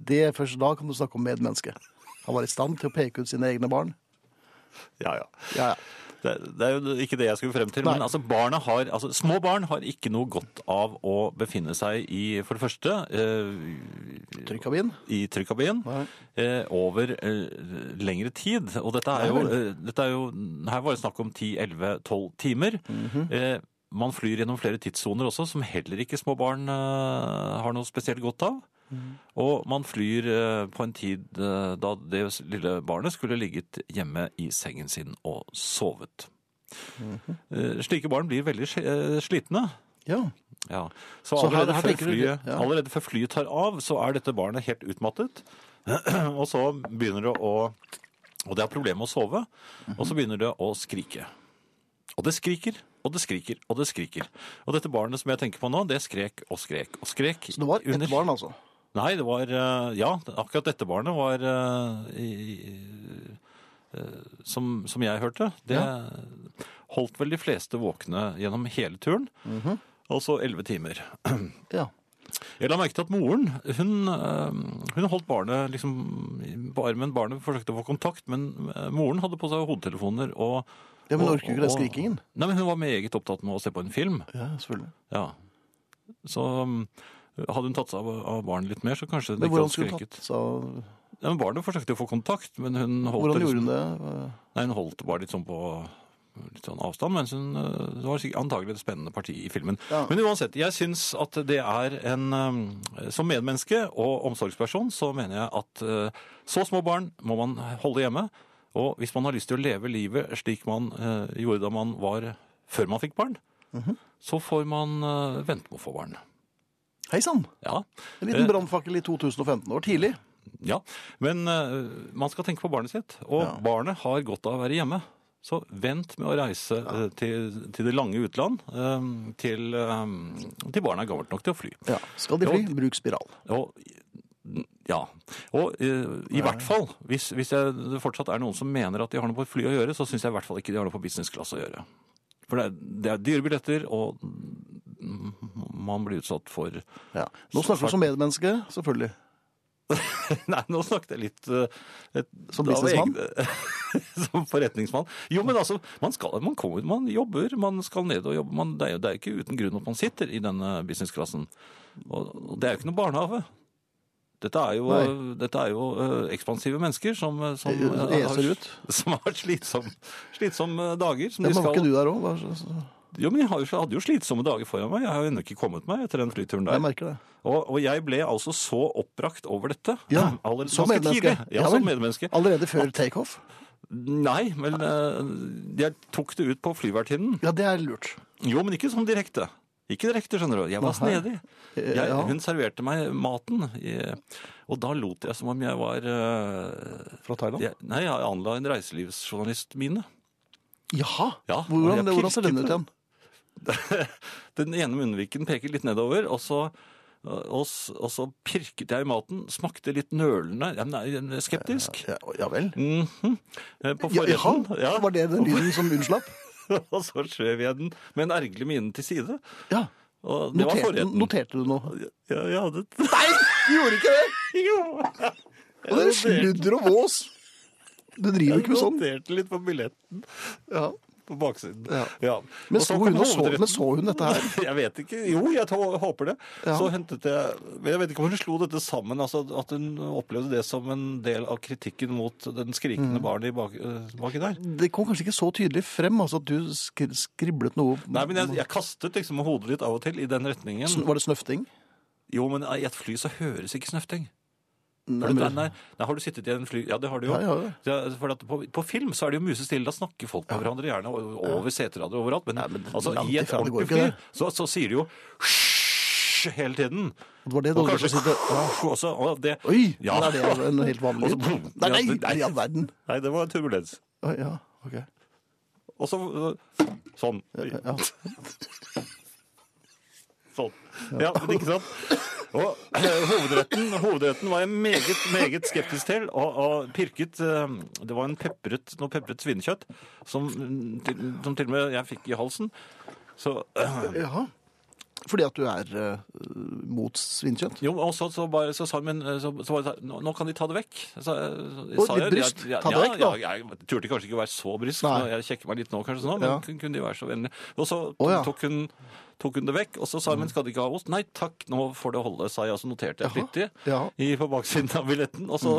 Det er først da kan du snakke om medmenneske. Han var i stand til å peke ut sine egne barn.
Ja, ja.
Ja, ja.
Det, det er jo ikke det jeg skulle frem til.
Nei.
Men altså, barna har, altså, små barn har ikke noe godt av å befinne seg i, for det første, eh,
Trykkabin.
i trykkabinen
Nei.
eh, over eh, lengre tid. Og dette er, jo, eh, dette er jo Her var det snakk om 10-11-12 timer. eh, man flyr gjennom flere tidssoner også, som heller ikke små barn eh, har noe spesielt godt av. Og man flyr eh, på en tid eh, da det lille barnet skulle ligget hjemme i sengen sin og sovet. eh, slike barn blir veldig sli- eh, slitne.
Ja.
Ja. Så,
Så her-
allerede,
her
før
tenker du-
flyet,
ja.
allerede før flyet tar av, så er dette barnet helt utmattet. og så begynner det å Og det har problemer med å sove. Og så begynner det å skrike. Og det skriker og det skriker og det skriker. Og dette barnet som jeg tenker på nå, det skrek og skrek og skrek.
Så det var ett
under-
barn, altså.
Nei, det var eh, Ja, akkurat dette barnet var eh, i, eh, som, som jeg hørte. Det holdt vel de fleste våkne gjennom hele turen.
Mhm.
Altså elleve timer.
Ja.
Jeg la merke til at moren hun, eh, hun holdt barnet liksom på armen. Barnet forsøkte å få kontakt, men eh, moren hadde på seg hodetelefoner og
ja men
og-
orker jo ikke den
og-
skrikingen.
Nei, men Hun var meget opptatt med å se på en film.
Ja, selvfølgelig.
Ja. Så um, hadde hun tatt seg av, av barnet litt mer, så kanskje hun
Men
ikke
hvordan
hadde
skulle du
skreket.
tatt seg
Ja, men barnet forsøkte å få kontakt, men hun holdt,
Hvordan
det
gjorde
liksom,
hun det?
nei, hun holdt det bare litt sånn på litt sånn avstand, mens hun, øh, det var sikkert antagelig et spennende parti i filmen.
Ja.
Men uansett, jeg syns at det er en um, Som medmenneske og omsorgsperson så mener jeg at øh, så små barn må man holde hjemme. Og hvis man har lyst til å leve livet slik man øh, gjorde da man var før man fikk barn, så får man øh, vente med å få barn.
Hei sann!
Ja.
En liten
Eh.
brannfakkel i 2015. Det var tidlig.
Ja, men eh, man skal tenke på barnet sitt, og
Ja.
barnet har godt av å være hjemme. Så vent med å reise eh, til, til det lange utland eh, til, eh, til barnet er gammelt nok til å fly.
Ja. Skal de fly,
Jo.
bruk spiral.
Og, ja. og eh, i hvert fall, hvis, hvis jeg, det fortsatt er noen som mener at de har noe på fly å gjøre, så syns jeg i hvert fall ikke de har noe på business class å gjøre. For det er, det er dyre billetter, og mm, man blir utsatt for
Ja. Nå
Så-
snakker du som medmenneske, selvfølgelig.
Nei, nå snakket jeg litt eh, et,
Som
av
businessmann?
egne- som forretningsmann. Jo, men altså, man, skal, man kommer, man jobber, man skal ned og jobbe. Man, det, er jo, det er jo ikke uten grunn at man sitter i denne businessklassen. Og, og det er jo ikke noe barnehage. Dette er jo,
Nei.
dette er jo eh, ekspansive mennesker som, eh, som,
Det
eh, har-
eser E ut.
som har slitsomme, slitsomme dager. Som
Men
de
var ikke
skal...
du der òg?
Jo, men jeg har jo- jeg hadde jo slitsomme dager foran meg. Jeg har jo ennå ikke kommet meg etter den flyturen der.
Jeg merker det.
Og, og jeg ble altså så oppbrakt over dette.
Ja,
Allerede
som
ganske
medmenneske.
tidlig. Ja,
Ja
som
vel.
medmenneske.
Allerede før takeoff?
Nei, men eh, jeg tok det ut på flyvertinnen.
Ja, det er lurt.
Jo, men ikke som direkte. Ikke direkte, skjønner du. Jeg var
Nei.
snedig.
Eh,
Jeg,
ja.
hun serverte meg maten, i- og da lot jeg som om jeg var eh,
Fra Thailand?
jeg, Nei, jeg anla en reiselivsjournalistmine.
Jaha!
Ja, og jeg
Hvordan, hvordan ser den
pirket
ut igjen?
Den ene munnviken peker litt nedover, og så, og, s- og så pirket jeg i maten. Smakte litt nølende, ja, nei, skeptisk.
Ja, ja vel.
Mhm. Eh, På
Ja,
forretten. Ja,
Var det den lyden som unnslapp?
og så skjøv jeg den med en ergerlig mine til side.
Ja.
Og det var
Noterte,
forretten.
noterte du noe?
Ja, jeg hadde et
Nei, du gjorde ikke det!
Jo!
Og det er sludder og vås. Du driver
Jeg
ikke med sånn.
noterte litt på billetten
Ja.
på baksiden.
Ja.
Og
Men, så
kom
hun og så,
hovedretten.
men så hun dette her?
Jeg vet ikke. Jo, jeg tå- håper det.
Ja.
Så hentet jeg men Jeg vet ikke om hun slo dette sammen. Altså at hun opplevde det som en del av kritikken mot den
Mm.
skrikende barnet i bak, eh, baki der.
Det kom kanskje ikke så tydelig frem altså, at du skri skriblet noe
Nei, men jeg, jeg kastet liksom hodet litt av og til i den retningen.
Sn- Var det snøfting?
Jo, men i et fly så høres ikke snøfting.
Nei,
Har du, nei,
men-
nei, nei, har du sittet i en fly... Ja, det har du jo.
Ja, ja, ja.
Ja, For at på, på film så er det jo musestille. Da snakker folk med hverandre gjerne o- over seterader overalt. Men,
men
altså,
langt
i et
ifra, det går
ordentlig
ikke
fly
det.
så, så sier de jo «Hysj» hele tiden.
Det var det du holdt
Og
på å
kanskje
sitte
også, og det,
Oi!
Ja.
Men er det altså en helt vanlig
Og så-
lyd? Nei, nei,
Ja, det-
nei, i all verden.
Nei, det var turbulens.
Oi, Ja, ok.
Og så øh, sånn.
Ja.
Sånn. Ja, men ikke sant? Og eh, hovedretten, hovedretten var jeg meget, meget skeptisk til, og, og pirket eh, Det var en pepret, noe pepret svinekjøtt som, mm, til, som til og med jeg fikk i halsen. Så, eh,
Jaha. Fordi at du er eh, mot svinkjøtt?
jo, og så, så, bare, så sa hun men eh, så, så bare, sa- nå, nå kan de ta det vekk. Så, eh,
Å,
sa
litt
jeg, jeg-
bryskt.
ja,
Ta det
ja,
vekk, da.
Ja, jeg, turte kanskje ikke å være så brysk.
Nei.
nå- Jeg kjekker meg litt nå, kanskje, sånn, men
Ja.
kunne de være så vennlige? Og så
Å, ja. Mm.
tok, hun, tok hun det vekk, og så sa hun men skal de ikke ha ost? Nei takk, nå får det holde, sa jeg, og så noterte jeg
Jaha.
flittig.
Ja. Mm.
i, på baksiden av billetten. Og så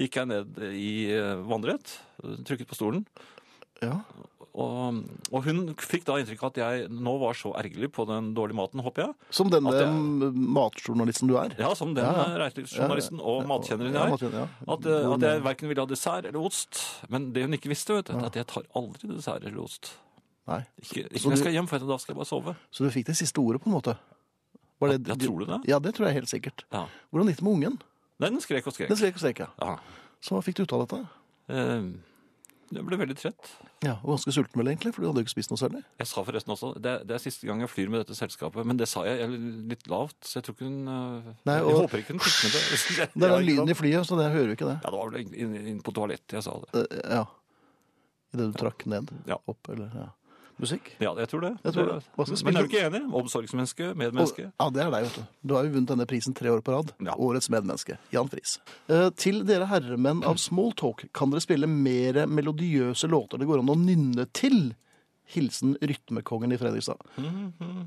gikk jeg ned i eh, vannrett, eh, trykket på stolen.
ja.
Og, og hun fikk da inntrykk av at jeg nå var så ergerlig på den dårlige maten, håper jeg.
Som denne
At jeg-
m- matjournalisten du er?
Ja, som den
Ja, ja.
eh, reiselivsjournalisten og matkjenneren
Ja,
jeg er.
matkjenner, ja. Mm.
At, eh, at jeg verken ville ha dessert eller ost. Men det hun ikke visste, vet du, er at jeg tar aldri dessert eller ost.
Nei.
Ikke, ikke
Så
når jeg
du-
skal hjem, for da skal jeg bare sove.
Så du fikk det siste ordet, på en måte? Var
Ja, tror du det?
Ja, det tror jeg helt sikkert.
Ja.
Hvordan gikk det med ungen?
Nei, den skrek og skrek.
Den skrek og skrek, ja.
Ja.
Så hva fikk du ut av dette?
Eh, Jeg ble veldig trett.
Ja, og ganske sulten vel, egentlig, for du hadde jo ikke spist noe særlig.
Jeg sa forresten også, det, er- det er siste gang jeg flyr med dette selskapet, men det sa jeg eller litt lavt, så jeg tror ikke hun øh,
Nei,
Jeg
og-
håper ikke hun fikk med det.
Det er
Ja,
den
ikke sant?
lyden i flyet, så det hører vi ikke det.
Ja, det var vel inn, inn, inn på toalettet jeg sa det.
Eh, Ja. Idet du trakk ned.
Ja.
Opp, eller ja. Musikk?
Ja, jeg tror det.
Jeg tror det. Hva skal vi
Men
spille?
er du ikke enig? Omsorgsmenneske,
Og,
medmenneske.
ja, det er deg, vet du. Du har jo vunnet denne prisen tre år på rad.
Ja.
Årets medmenneske. Jan Friis. Eh, til dere herremenn av Smalltalk, kan dere spille mer melodiøse låter det går an å nynne til? Hilsen Rytmekongen i Fredrikstad.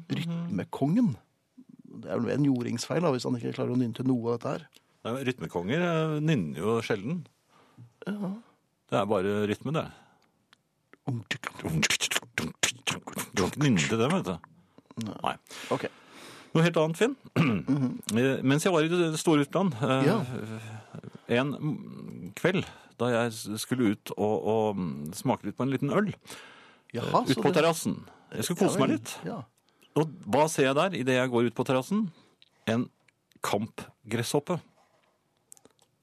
Rytmekongen? Det er vel en jordingsfeil da, hvis han ikke klarer å nynne til noe av dette her.
Nei, men rytmekonger øh, nynner jo sjelden. Det er bare rytme, det. Du kan ikke nynne til det, vet du. Nei.
Ok.
Noe helt annet, Finn. Eh, Mens jeg var i det store utland, eh,
Mhm. Ja.
en mm, kveld da jeg s- skulle ut og, og mm, smake litt på en liten øl
Jaha,
ute på terrassen. Jeg skulle kose meg litt.
Ja.
Og hva ser jeg der idet jeg går ut på terrassen? En kampgresshoppe.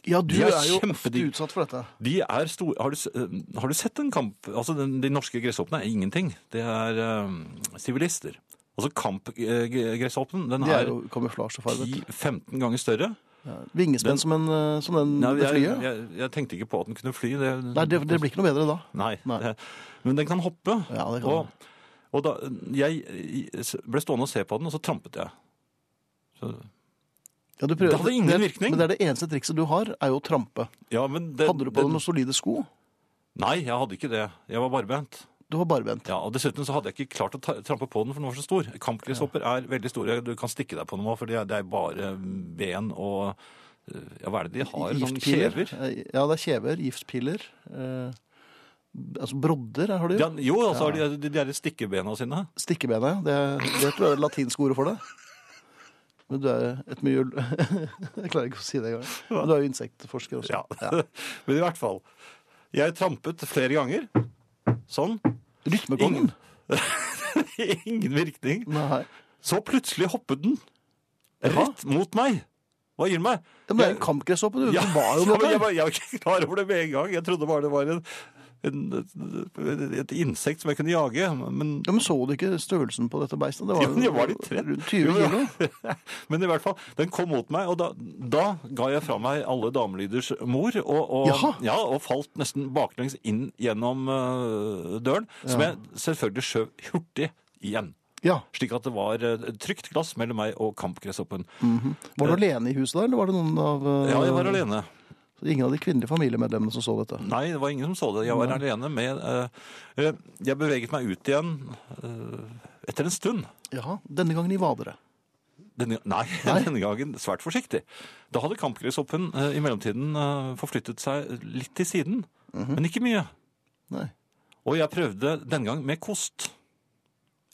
ja, du
De er
er, jo ofte
kjempedigg.
utsatt for dette.
De er store har, du s- eh, har du sett en kamp Altså, den, De norske gresshoppene er ingenting. Det er eh, sivilister. Altså kampgresshoppen, den
De er
er
jo kamuflasjefarget.
10-15 ganger større.
Vingespenn
Den-
som, en, eh, som den
Nei,
det
jeg,
flyet.
jeg, jeg tenkte ikke på at den kunne fly. Det,
Nei, det, det blir ikke noe bedre da.
Nei.
Nei.
Det, men den kan hoppe.
Ja, det kan den.
og, og da Jeg ble stående og se på den, og så trampet jeg. Så,
Ja, du prøver-
Det hadde ingen
det-
virkning.
Men det er det eneste trikset du har, er jo å trampe.
ja, men det,
Hadde du på deg
det-
noen solide sko?
Nei, jeg hadde ikke det. Jeg var barbent.
Du var barbent.
Ja, og Dessuten så hadde jeg ikke klart å ta, trampe på den, for den var så stor. Kampgresshopper er veldig store. Du kan stikke deg på noe, for det er- det er bare ben og eh, ja, Hva er det de har? Sånn
Giftpiler.
kjever?
Eh, Ja, det er kjever, giftpiler. Eh, altså brodder har de.
Ja,
jo.
jo, altså har de, de, de der stikkebena sine.
Stikkebena, ja. Det, det tror jeg er det latinske ordet for det. Men du er et mye Jeg klarer ikke å si det engang. Men du er jo insektforsker også.
Ja. Men i hvert fall. Jeg trampet flere ganger. Sånn.
Rytmekongen?
Ingen virkning.
Nei.
Så plutselig hoppet den rett mot meg. Hva gir den meg?
Ja, Men det er en kampgresshoppe, du.
Ja,
Du var jo
ja,
med
men jeg,
på
var, jeg var ikke klar over det med en gang. Jeg trodde bare det var en, en, et insekt som jeg kunne jage. Men,
ja, men Så du ikke størrelsen på dette beistet? Det var,
Ja, men
jo
jeg var litt trett.
rundt 20
Jo,
kilo.
ja. Men i hvert fall, den kom mot meg, og da, da ga jeg fra meg alle damelyders mor, og, og,
Jaha.
ja, og falt nesten baklengs inn gjennom øh, døren, som jeg selvfølgelig skjøv hurtig igjen.
Ja.
Slik at det var øh, trygt glass mellom meg og kampgresshoppen.
Mm. Var du alene i huset da, eller var det noen av eh,
Ja, jeg var alene.
Ingen av de kvinnelige familiemedlemmene som så dette?
Nei, det var ingen som så det. Jeg var alene med øh, øh, Jeg beveget meg ut igjen øh, etter en stund.
Ja, denne gangen i vadere.
Denne, nei, denne gangen svært forsiktig. Da hadde kampgresshoppen eh, i mellomtiden eh, forflyttet seg litt til siden, men ikke mye.
Nei.
Og jeg prøvde denne gang med kost.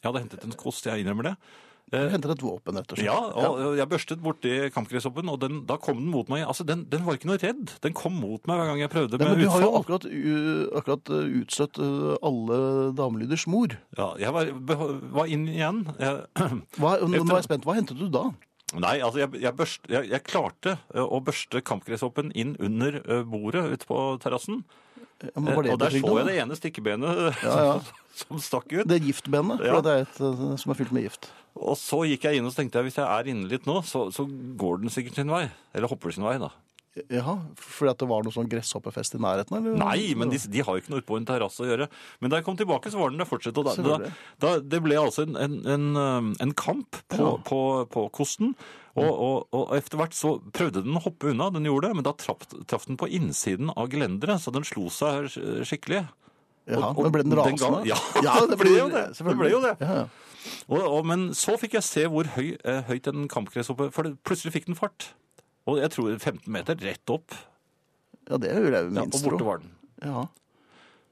Jeg hadde hentet en kost, jeg innrømmer det.
Du henter et våpen, rett og slett.
Eh, Ja, og eh, jeg børstet borti kampgresshoppen, og den, da kom den mot meg. Altså, den, den var ikke noe redd. Den kom mot meg hver gang jeg prøvde
Nei,
med
men du har jo
utfall.
akkurat, u- akkurat uh, utstøtt uh, alle damelyders mor.
Ja, jeg var, beh- var inn igjen. Jeg,
Hva, nå
Etter-
nå er jeg spent. Hva hentet du da?
Nei, altså jeg, jeg, børst, jeg, jeg klarte eh, å børste kampgresshoppen inn under eh, bordet ute på terrassen.
Ja, men var
Eh, og der så
betryggende, da?
jeg det ene stikkebenet
Ja, ja.
som stakk ut.
Det er giftbenet, for
Ja.
det er et uh, som er fylt med gift.
Og så gikk jeg inn og så tenkte jeg, hvis jeg er inne litt nå, så, så går den sikkert sin vei. Eller hopper sin vei, da.
Jaha, fordi at det var noe sånn gresshoppefest i nærheten? Eller?
Nei, men de, de har jo ikke noe ute på en terrasse å gjøre. Men da jeg kom tilbake, så var den der fortsatt. Og da, da,
Selvfølgelig.
da, det ble altså en, en, en, eh, en kamp på, på, på kosten. Og,
Mm.
og, og etter hvert så prøvde den å hoppe unna, den gjorde det, men da traff, traff den på innsiden av gelenderet, så den slo seg sk- skikkelig.
Jaha,
og- og
men ble den
den
rasende?
ga- ja,
det ble jo det.
Det ble jo det.
Ja, ja.
Og, og, men så fikk jeg se hvor høy, eh, høyt en kampkresshoppe For det, plutselig fikk den fart. Og jeg tror 15 meter rett opp.
ja, det vil jeg jo
Ja, og
minst
borte
tro.
var den.
Ja.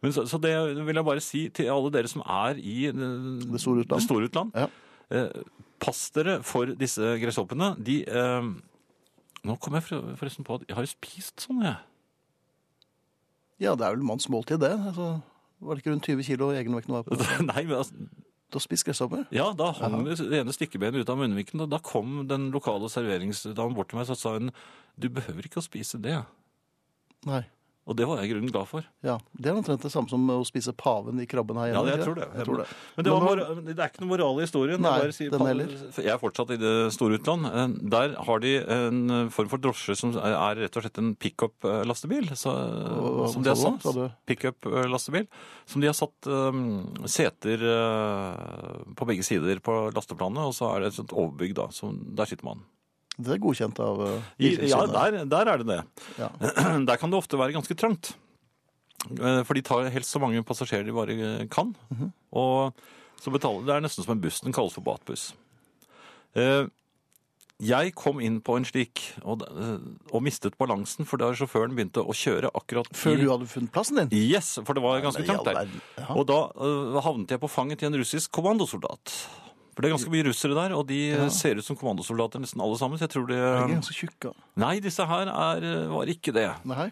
Men så, så det vil jeg bare si til alle dere som er i eh, det
store utland.
utland.
Ja.
Eh, Pass dere for disse gresshoppene. De eh, Nå kom jeg for- forresten på at jeg har jo spist sånn, jeg.
ja, det er vel manns måltid, det. Altså, var det ikke rundt 20 kilo egenvekten var på?
Nei, men altså,
Du har spist gresshopper?
ja, da hang det ene stikkebenet ut av munnviken, og da kom den lokale serveringsdamen bort til meg og sa hun du behøver ikke å spise det.
Nei.
Og det var jeg i grunnen glad for.
Ja, Det er omtrent det samme som å spise paven i krabben her
Ja,
hjemme.
jeg
ikke
tror det.
Jeg tror det.
Men det, var
Men nå-
mora- det er ikke noe moral i historien.
Nei,
jeg, bare sier,
den heller.
jeg er fortsatt i det store utland. Eh, Der har de en form for drosje som er rett og slett en pickup-lastebil.
Hva- hva
Som de har
sa du da?
satt.
Sa du-
Pickup-lastebil. Som de har satt eh, seter eh, på begge sider på lasteplanet, og så er det et sånt overbygg, da. Så der sitter man.
Det er godkjent av uh,
I, ja,
Biltilsynet.
der, der er det det.
Ja.
Der kan det ofte være ganske trangt. Eh, For de tar helst så mange passasjerer de bare eh, kan.
Mhm.
Og så betaler Det er nesten som en buss. Den kalles for batbuss. Eh, Jeg kom inn på en slik og, da- eh, og mistet balansen, for da sjåføren begynte å kjøre akkurat i-
Før du hadde funnet plassen din?
Yes, for det var ganske
men i
trangt
all
der.
verden, ja.
Og da eh, havnet jeg på fanget til en russisk kommandosoldat. For det er ganske mye russere der, og de eh, ser ut som kommandosoldater nesten alle sammen. Så jeg tror de
De er ganske tjukke.
Nei, disse her er, eh, var ikke det.
Nei.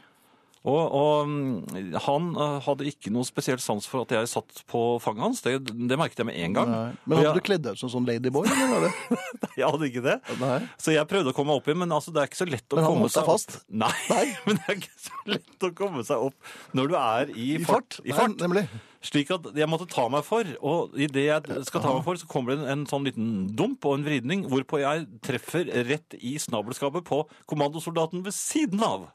Og, og mm, han eh, hadde ikke noe spesielt sans for at jeg satt på fanget hans. Det, det merket jeg med en gang.
Nei. Men
Og
hadde du
jeg,
kledd deg ut som sånn ladyboy, eller var det?
jeg hadde ikke det.
Nei.
Så jeg prøvde å komme opp igjen, men altså, det er ikke så lett å
Men han
komme
holdt seg
seg
fast?
Opp. Nei, men det er ikke så lett å komme seg opp når du er i,
I fart?
I fart.
Nei, nemlig.
Slik at jeg måtte ta meg for, og i det jeg skal ta meg for, så kommer det en, en sånn liten dump og en vridning, hvorpå jeg treffer rett i snabelskapet på kommandosoldaten ved siden av.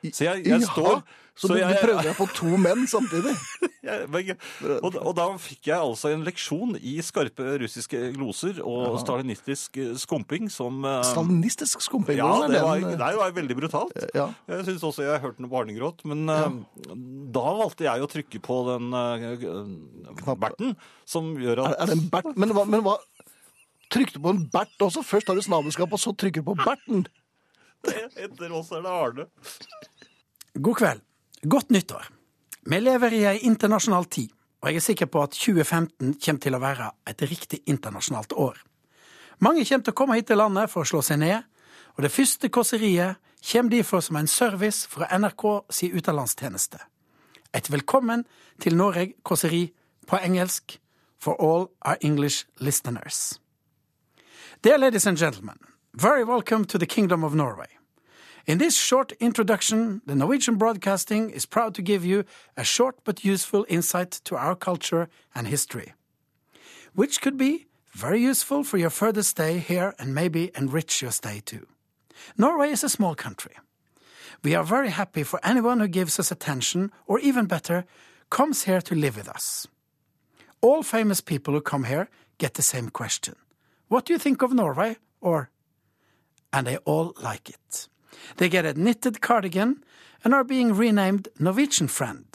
Så jeg, jeg
Jaha,
står
Så,
så
du,
jeg-
du prøvde deg på to menn samtidig?
jeg, men jeg- og, og da fikk jeg altså en leksjon i skarpe russiske gloser og stalinistisk eh, skumping som eh,
Stalinistisk skumping?
ja,
hvordan er
det var,
den, eh,
nei, det var veldig brutalt.
Ja.
Jeg syns også jeg hørte noe barnegråt. Men eh, da valgte jeg å trykke på den eh, berten, som gjør
Er,
at
er det en bert? Men hva, men hva Trykte du på en bert også? Først har du snabelskap, og så trykker du på berten?
Etter oss er det Arne.
God kveld. Godt nyttår. Vi lever i ei internasjonal tid, og jeg er sikker på at 2015 kommer til å være et riktig internasjonalt år. Mange kommer til å komme hit til landet for å slå seg ned, og det første kåseriet kommer derfor som en service fra NRK si utenlandstjeneste. Et velkommen til Noreg kåseri på engelsk for all our English listeners. Dear ladies and gentlemen, very welcome to the Kingdom of Norway. In this short introduction, the Norwegian Broadcasting is proud to give you a short but useful insight to our culture and history, which could be very useful for your further stay here and maybe enrich your stay too. Norway is a small country. We are very happy for anyone who gives us attention, or even better, comes here to live with us. All famous people who come here get the same question What do you think of Norway? Or and they all like it. They get a knitted cardigan and are being renamed Norwegian Friend.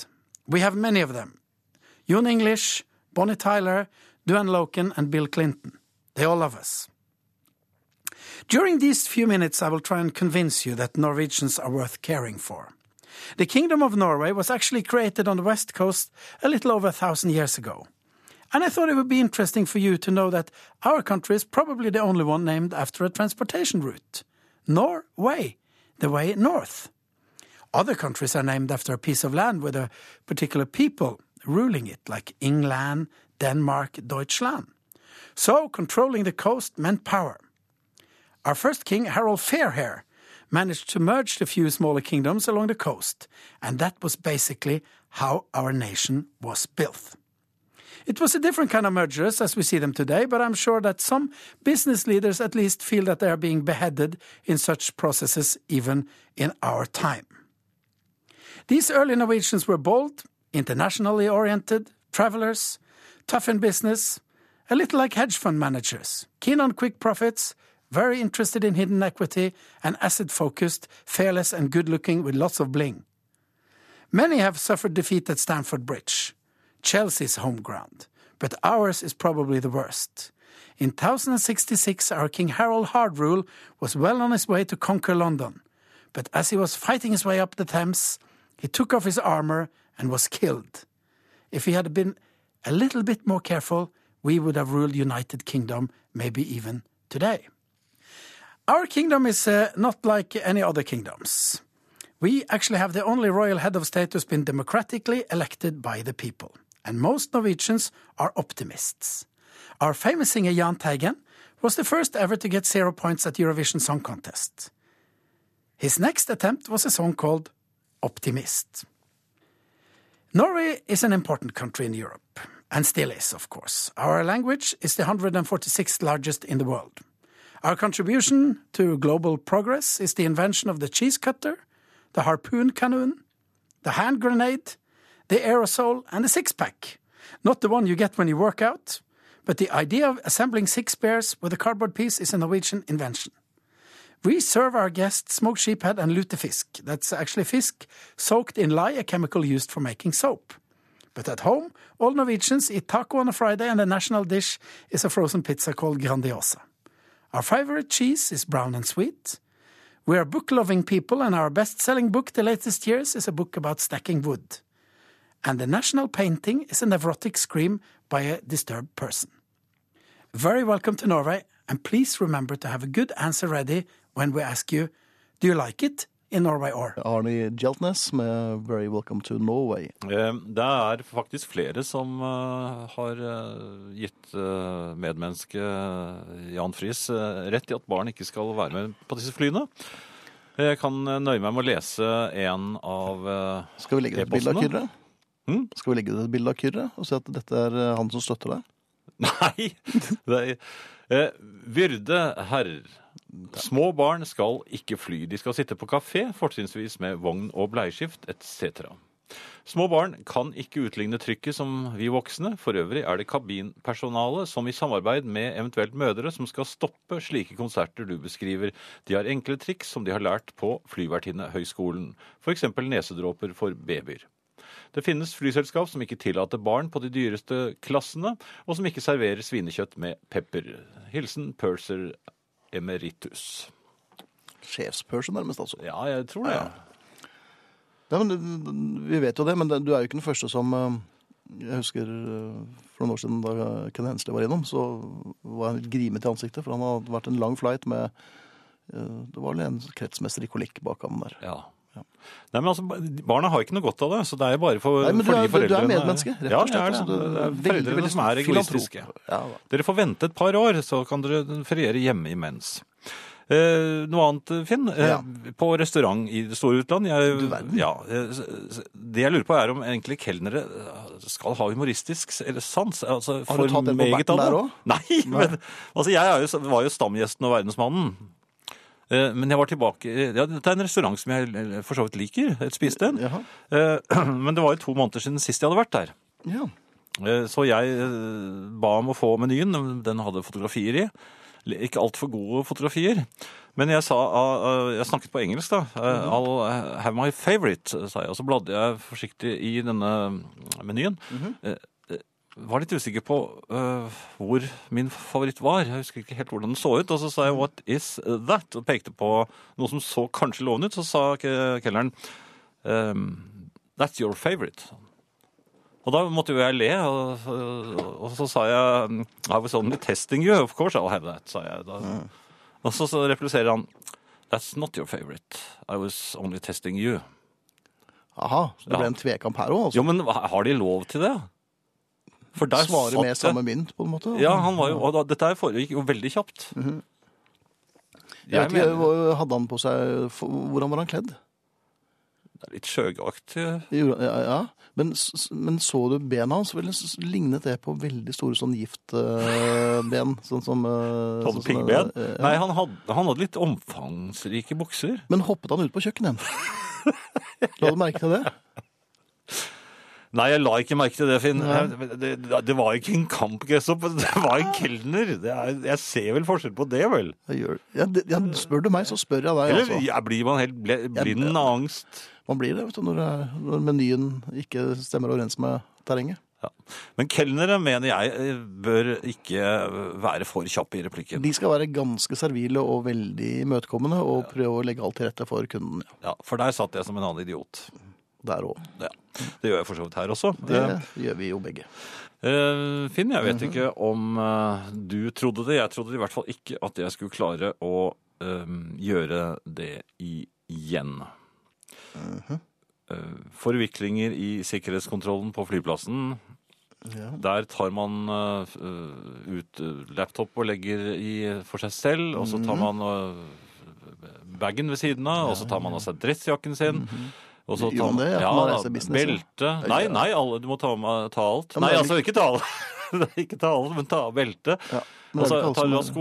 We have many of them Jon English, Bonnie Tyler, Duane Loken, and Bill Clinton. They all love us. During these few minutes, I will try and convince you that Norwegians are worth caring for. The Kingdom of Norway was actually created on the west coast a little over a thousand years ago. And I thought it would be interesting for you to know that our country is probably the only one named after a transportation route Norway, the way north. Other countries are named after a piece of land with a particular people ruling it, like England, Denmark, Deutschland. So controlling the coast meant power. Our first king, Harold Fairhair, managed to merge the few smaller kingdoms along the coast, and that was basically how our nation was built. It was a different kind of mergers as we see them today, but I'm sure that some business leaders at least feel that they are being beheaded in such processes even in our time. These early Norwegians were bold, internationally oriented, travelers, tough in business, a little like hedge fund managers, keen on quick profits, very interested in hidden equity, and asset focused, fearless and good looking with lots of bling. Many have suffered defeat at Stamford Bridge, Chelsea's home ground, but ours is probably the worst. In 1066, our King Harold Hardrule was well on his way to conquer London, but as he was fighting his way up the Thames, he took off his armour and was killed. If he had been a little bit more careful, we would have ruled United Kingdom, maybe even today. Our kingdom is uh, not like any other kingdoms. We actually have the only royal head of state who's been democratically elected by the people, and most Norwegians are optimists. Our famous singer Jahn Teigen was the first ever to get zero points at Eurovision Song Contest. His next attempt was a song called Optimist. Norway is an important country in Europe, and still is, of course. Our language is the 146th largest in the world. Our contribution to global progress is the invention of the cheese cutter, the harpoon canoe, the hand grenade, the aerosol, and the six pack. Not the one you get when you work out, but the idea of assembling six pairs with a cardboard piece is a Norwegian invention. We serve our guests smoked sheephead and lutefisk. That's actually fisk soaked in lye, a chemical used for making soap. But at home, all Norwegians eat taco on a Friday, and the national dish is a frozen pizza called Grandiosa. Our favorite cheese is brown and sweet. We are book loving people, and our best selling book the latest years is a book about stacking wood. And the national painting is a nevrotic scream by a disturbed person. Very welcome to Norway, and please remember to have a good answer ready when we ask you, do you like it in Norway or?
Arnie Jeltnes med 'Very Welcome to Norway'.
Eh, Det er faktisk flere som eh, har eh, gitt eh, medmennesket Jan Friis eh, rett i at barn ikke skal være med på disse flyene. Jeg kan eh, nøye meg med å lese en av eh,
Skal vi legge ut et bilde av
E-posten, da?
Kyrre?
Hm?
Skal vi legge ut et bilde av Kyrre og si at dette er eh, han som støtter deg?
Nei! Det er, eh, vyrde herrer. Små barn skal ikke fly. De skal sitte på kafé, fortrinnsvis med vogn og bleieskift etc. Små barn kan ikke utligne trykket som vi voksne. For øvrig er det kabinpersonalet som i samarbeid med eventuelt mødre som skal stoppe slike konserter du beskriver. De har enkle triks som de har lært på Flyvertinnehøgskolen. F.eks. nesedråper for babyer. Det finnes flyselskap som ikke tillater barn på de dyreste klassene, og som ikke serverer svinekjøtt med pepper. Hilsen Purser emeritus.
sjefspølse, nærmest, altså.
Ja, jeg tror det. Ja.
Nei, men, det- vi vet jo det, men det- du er jo ikke den første som eh, Jeg husker eh, for noen år siden da Ken Hensley var innom, så var han litt grimet i ansiktet, for han hadde vært en lang flight med eh, Det var vel en kretsmester i kolikk bak ham der.
Ja. Nei, men altså, Barna har ikke noe godt av det, så det er jo bare for,
Nei, men du
fordi
er, du er
foreldrene-
medmenneske, rett
ja,
og slett.
jeg er
altså,
det.
du
det
er
er
veldig,
foreldrene
veldig
som er
filantrop.
egoistiske.
Ja, da.
Dere får vente et par år, så kan dere feriere hjemme imens. Eh, noe annet, Finn? Eh,
Ja.
På restaurant i det store utland jeg,
Du verden.
ja, eh, s- s- Det jeg lurer på, er om egentlig kelnere eh, skal ha humoristisk s- eller sans. Altså,
Har du
for
tatt den på
meget
berten
av
der
det.
også?
Nei, men altså, jeg er jo, s- var jo stamgjesten og verdensmannen. Eh, Men jeg var tilbake ja, Det er en restaurant som jeg eh, for så vidt liker. Et spisested.
Jaha.
Eh, Men det var jo to måneder siden sist jeg hadde vært der.
Ja.
Eh, Så jeg eh, ba om å få menyen. Den hadde fotografier i. Ikke altfor gode fotografier. Men jeg, sa, ah, ah, jeg snakket på engelsk, da. Eh, I'll have my favorite, sa jeg. Og så bladde jeg forsiktig i denne menyen. Eh, eh, Var litt usikker på eh, hvor min favoritt var. Jeg husker ikke helt hvordan den så ut. Og så sa jeg 'What is that?' og pekte på noe som så kanskje lovende ut. Så sa ke- kelneren ehm, 'That's your favorite'. Og da måtte jo jeg le, og, og, og så sa jeg "Mm, I was only sånn testing you, of course I'll have that, sa jeg. Da. Og så, så repliserer han That's not your favorite. I was only testing you.
Aha, så det
Ja.
ble en tvekamp her òg, altså.
Jo, men hva- har de lov til det? For der
Svarer
satt
med
jeg-
samme mynt, på en måte.
Ja, han var jo, og da, dette her foregikk jo veldig kjapt.
Mhm. jeg
Jeg
vet ikke,
mener
hva- Hadde han på seg for- Hvordan var han kledd?
det er litt sjøgaktig.
Jo, Ja, ja. Men, s- s- men så du bena hans? Vel, s- lignet det på veldig store sånn giftben? Sånn som eh,
Hadde
sånn som,
pingben?
eh, ja.
Nei, han hadde, han hadde litt omfangsrike bukser.
Men hoppet han ut på kjøkkenet? La du merke til det?
Nei, jeg la ikke merke til det, Finn. Jeg- Det, det, det var ikke en kampgresshopp, det var en kelner. Det er, jeg ser vel forskjell på det, vel?
Jeg gjør, ja, det- ja, spør du meg, så spør jeg deg.
Eller
Altså.
ja, blir man helt ble, blind av angst?
Man blir det vet du, når, det er- når menyen ikke stemmer overens med terrenget.
Ja. Men kelnere, mener jeg, eh, bør ikke eh, være for kjappe i replikken.
De skal være ganske servile og veldig imøtekommende og prøve å legge alt til rette for kunden. Ja,
Ja, for der satt jeg som en annen idiot.
der òg.
Ja. Det gjør jeg for så vidt her også.
Det gjør vi jo begge.
Eh, Finn, jeg vet ikke om eh, du trodde det. Jeg trodde i hvert fall ikke at jeg skulle klare å eh, gjøre det igjen. Eh, forviklinger i sikkerhetskontrollen på flyplassen.
Ja.
Der tar man eh, f- eh, ut eh, laptop og legger i for seg selv, og så tar
Mhm.
man eh, bagen ved siden av, og så tar man av seg dressjakken sin. Og så
Mhm. Gjør
tar
man det? Ja,
ja,
for man
da,
reiser business, ja.
belte Nei, nei, alle, du må ta, med- ta alt.
Ja, men det
nei,
er
altså, ikke ta alt. Det er ikke ta alt, men ta av beltet.
Ja, men det er ikke alle
Og så Altså, tar
som
du av
er-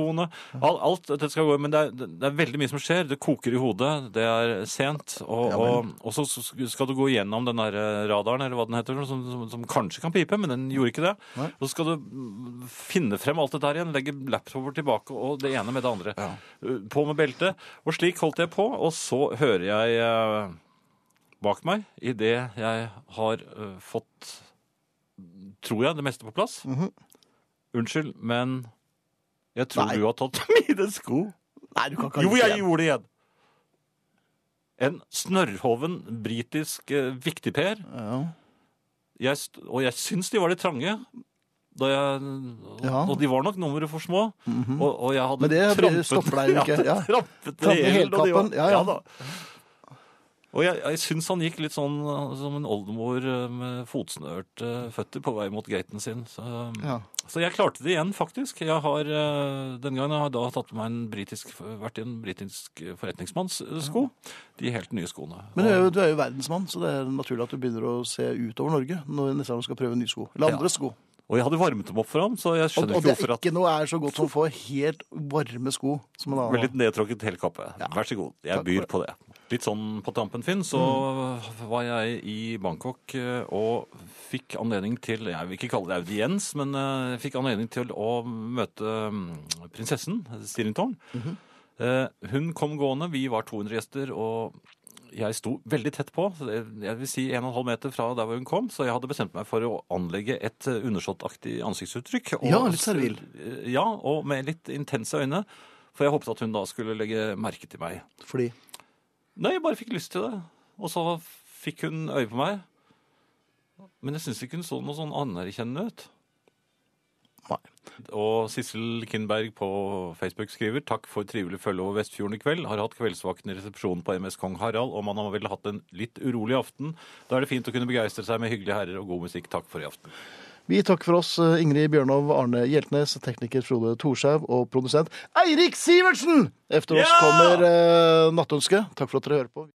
skoene. Alt, alt dette skal gå, men det er, det er veldig mye som skjer. Det koker i hodet, det er sent, og,
Ja,
og, og så skal du gå gjennom den der eh, radaren, eller hva den heter, som, som, som kanskje kan pipe, men den gjorde ikke det.
Nei.
Og så skal du mm, finne frem alt det der igjen, legge laptoper tilbake, og det ene med det andre. Uh, På med beltet. Og slik holdt jeg på, og så hører jeg eh, bak meg, i det jeg har eh, fått, tror jeg, det meste på plass.
Mhm.
Unnskyld, men jeg tror
Nei.
du har tatt mine sko.
Nei, du kan ikke ha
Jo,
gjort det
jeg
igjen.
gjorde det igjen! En snørrhoven britisk eh, viktigper.
Ja.
Jeg, st- og jeg syns de var litt trange. Da jeg, og,
Ja. Mhm.
og de var nok nummeret for små. og, og jeg hadde
Men det blir-
trampet,
stopper deg jo ikke,
Jeg hadde
ja.
trampet
Trampet
i hælen, og de
helkappen,
var-
ja, ja.
da. Og jeg, jeg syns han gikk litt sånn eh, som en oldemor eh, med fotsnørte føtter på vei mot gaten sin. Så,
Ja.
så jeg klarte det igjen, faktisk. Jeg har, eh, den gangen har jeg da tatt på meg en britisk, vært i en britisk forretningsmanns eh, sko. De helt nye skoene.
Men du
Og-
er, jo, du er jo verdensmann, så det er naturlig at du begynner å se utover Norge når neste gang du skal prøve nye sko. Eller andre
Ja.
sko.
Og jeg hadde varmet dem opp for ham, så jeg
Og,
skjønner
og
ikke
det
hvorfor
er
at
ikke noe er så godt som å få helt varme sko som en
Med
annen.
litt nedtråkket helkappe. Vær så god. Jeg
Takk
byr
for
på det. Litt sånn på tampen, Finn, så var jeg i Bangkok eh, og fikk anledning til Jeg vil ikke kalle det audiens, men eh, fikk anledning til å møte mm, prinsessen, Stirrington.
Mhm.
Eh, Hun kom gående. Vi var 200 gjester, og jeg sto veldig tett på. så det- Jeg vil si 1,5 meter fra der hvor hun kom, så jeg hadde bestemt meg for å anlegge et eh, undersåttaktig ansiktsuttrykk.
Ja, litt servil.
Ja, og med litt intense øyne For jeg håpet at hun da skulle legge merke til meg.
Fordi
Nei, jeg bare fikk lyst til det. Og så fikk hun øye på meg. Men jeg syns ikke hun så noe sånn anerkjennende ut. Nei. Og Sissel Kindberg på Facebook skriver takk for trivelig følge over Vestfjorden i kveld. Har hatt kveldsvakten i resepsjonen på MS Kong Harald, og man har vel hatt en litt urolig aften. Da er det fint å kunne begeistre seg med hyggelige herrer og god musikk. Takk for i aften.
Vi takker for oss, eh, Ingrid Bjørnov, Arne Hjeltnes, tekniker Frode Thorshaug og produsent Eirik Sivertsen! Efter oss
Ja!
kommer eh, Nattønsket. Takk for at dere hører på.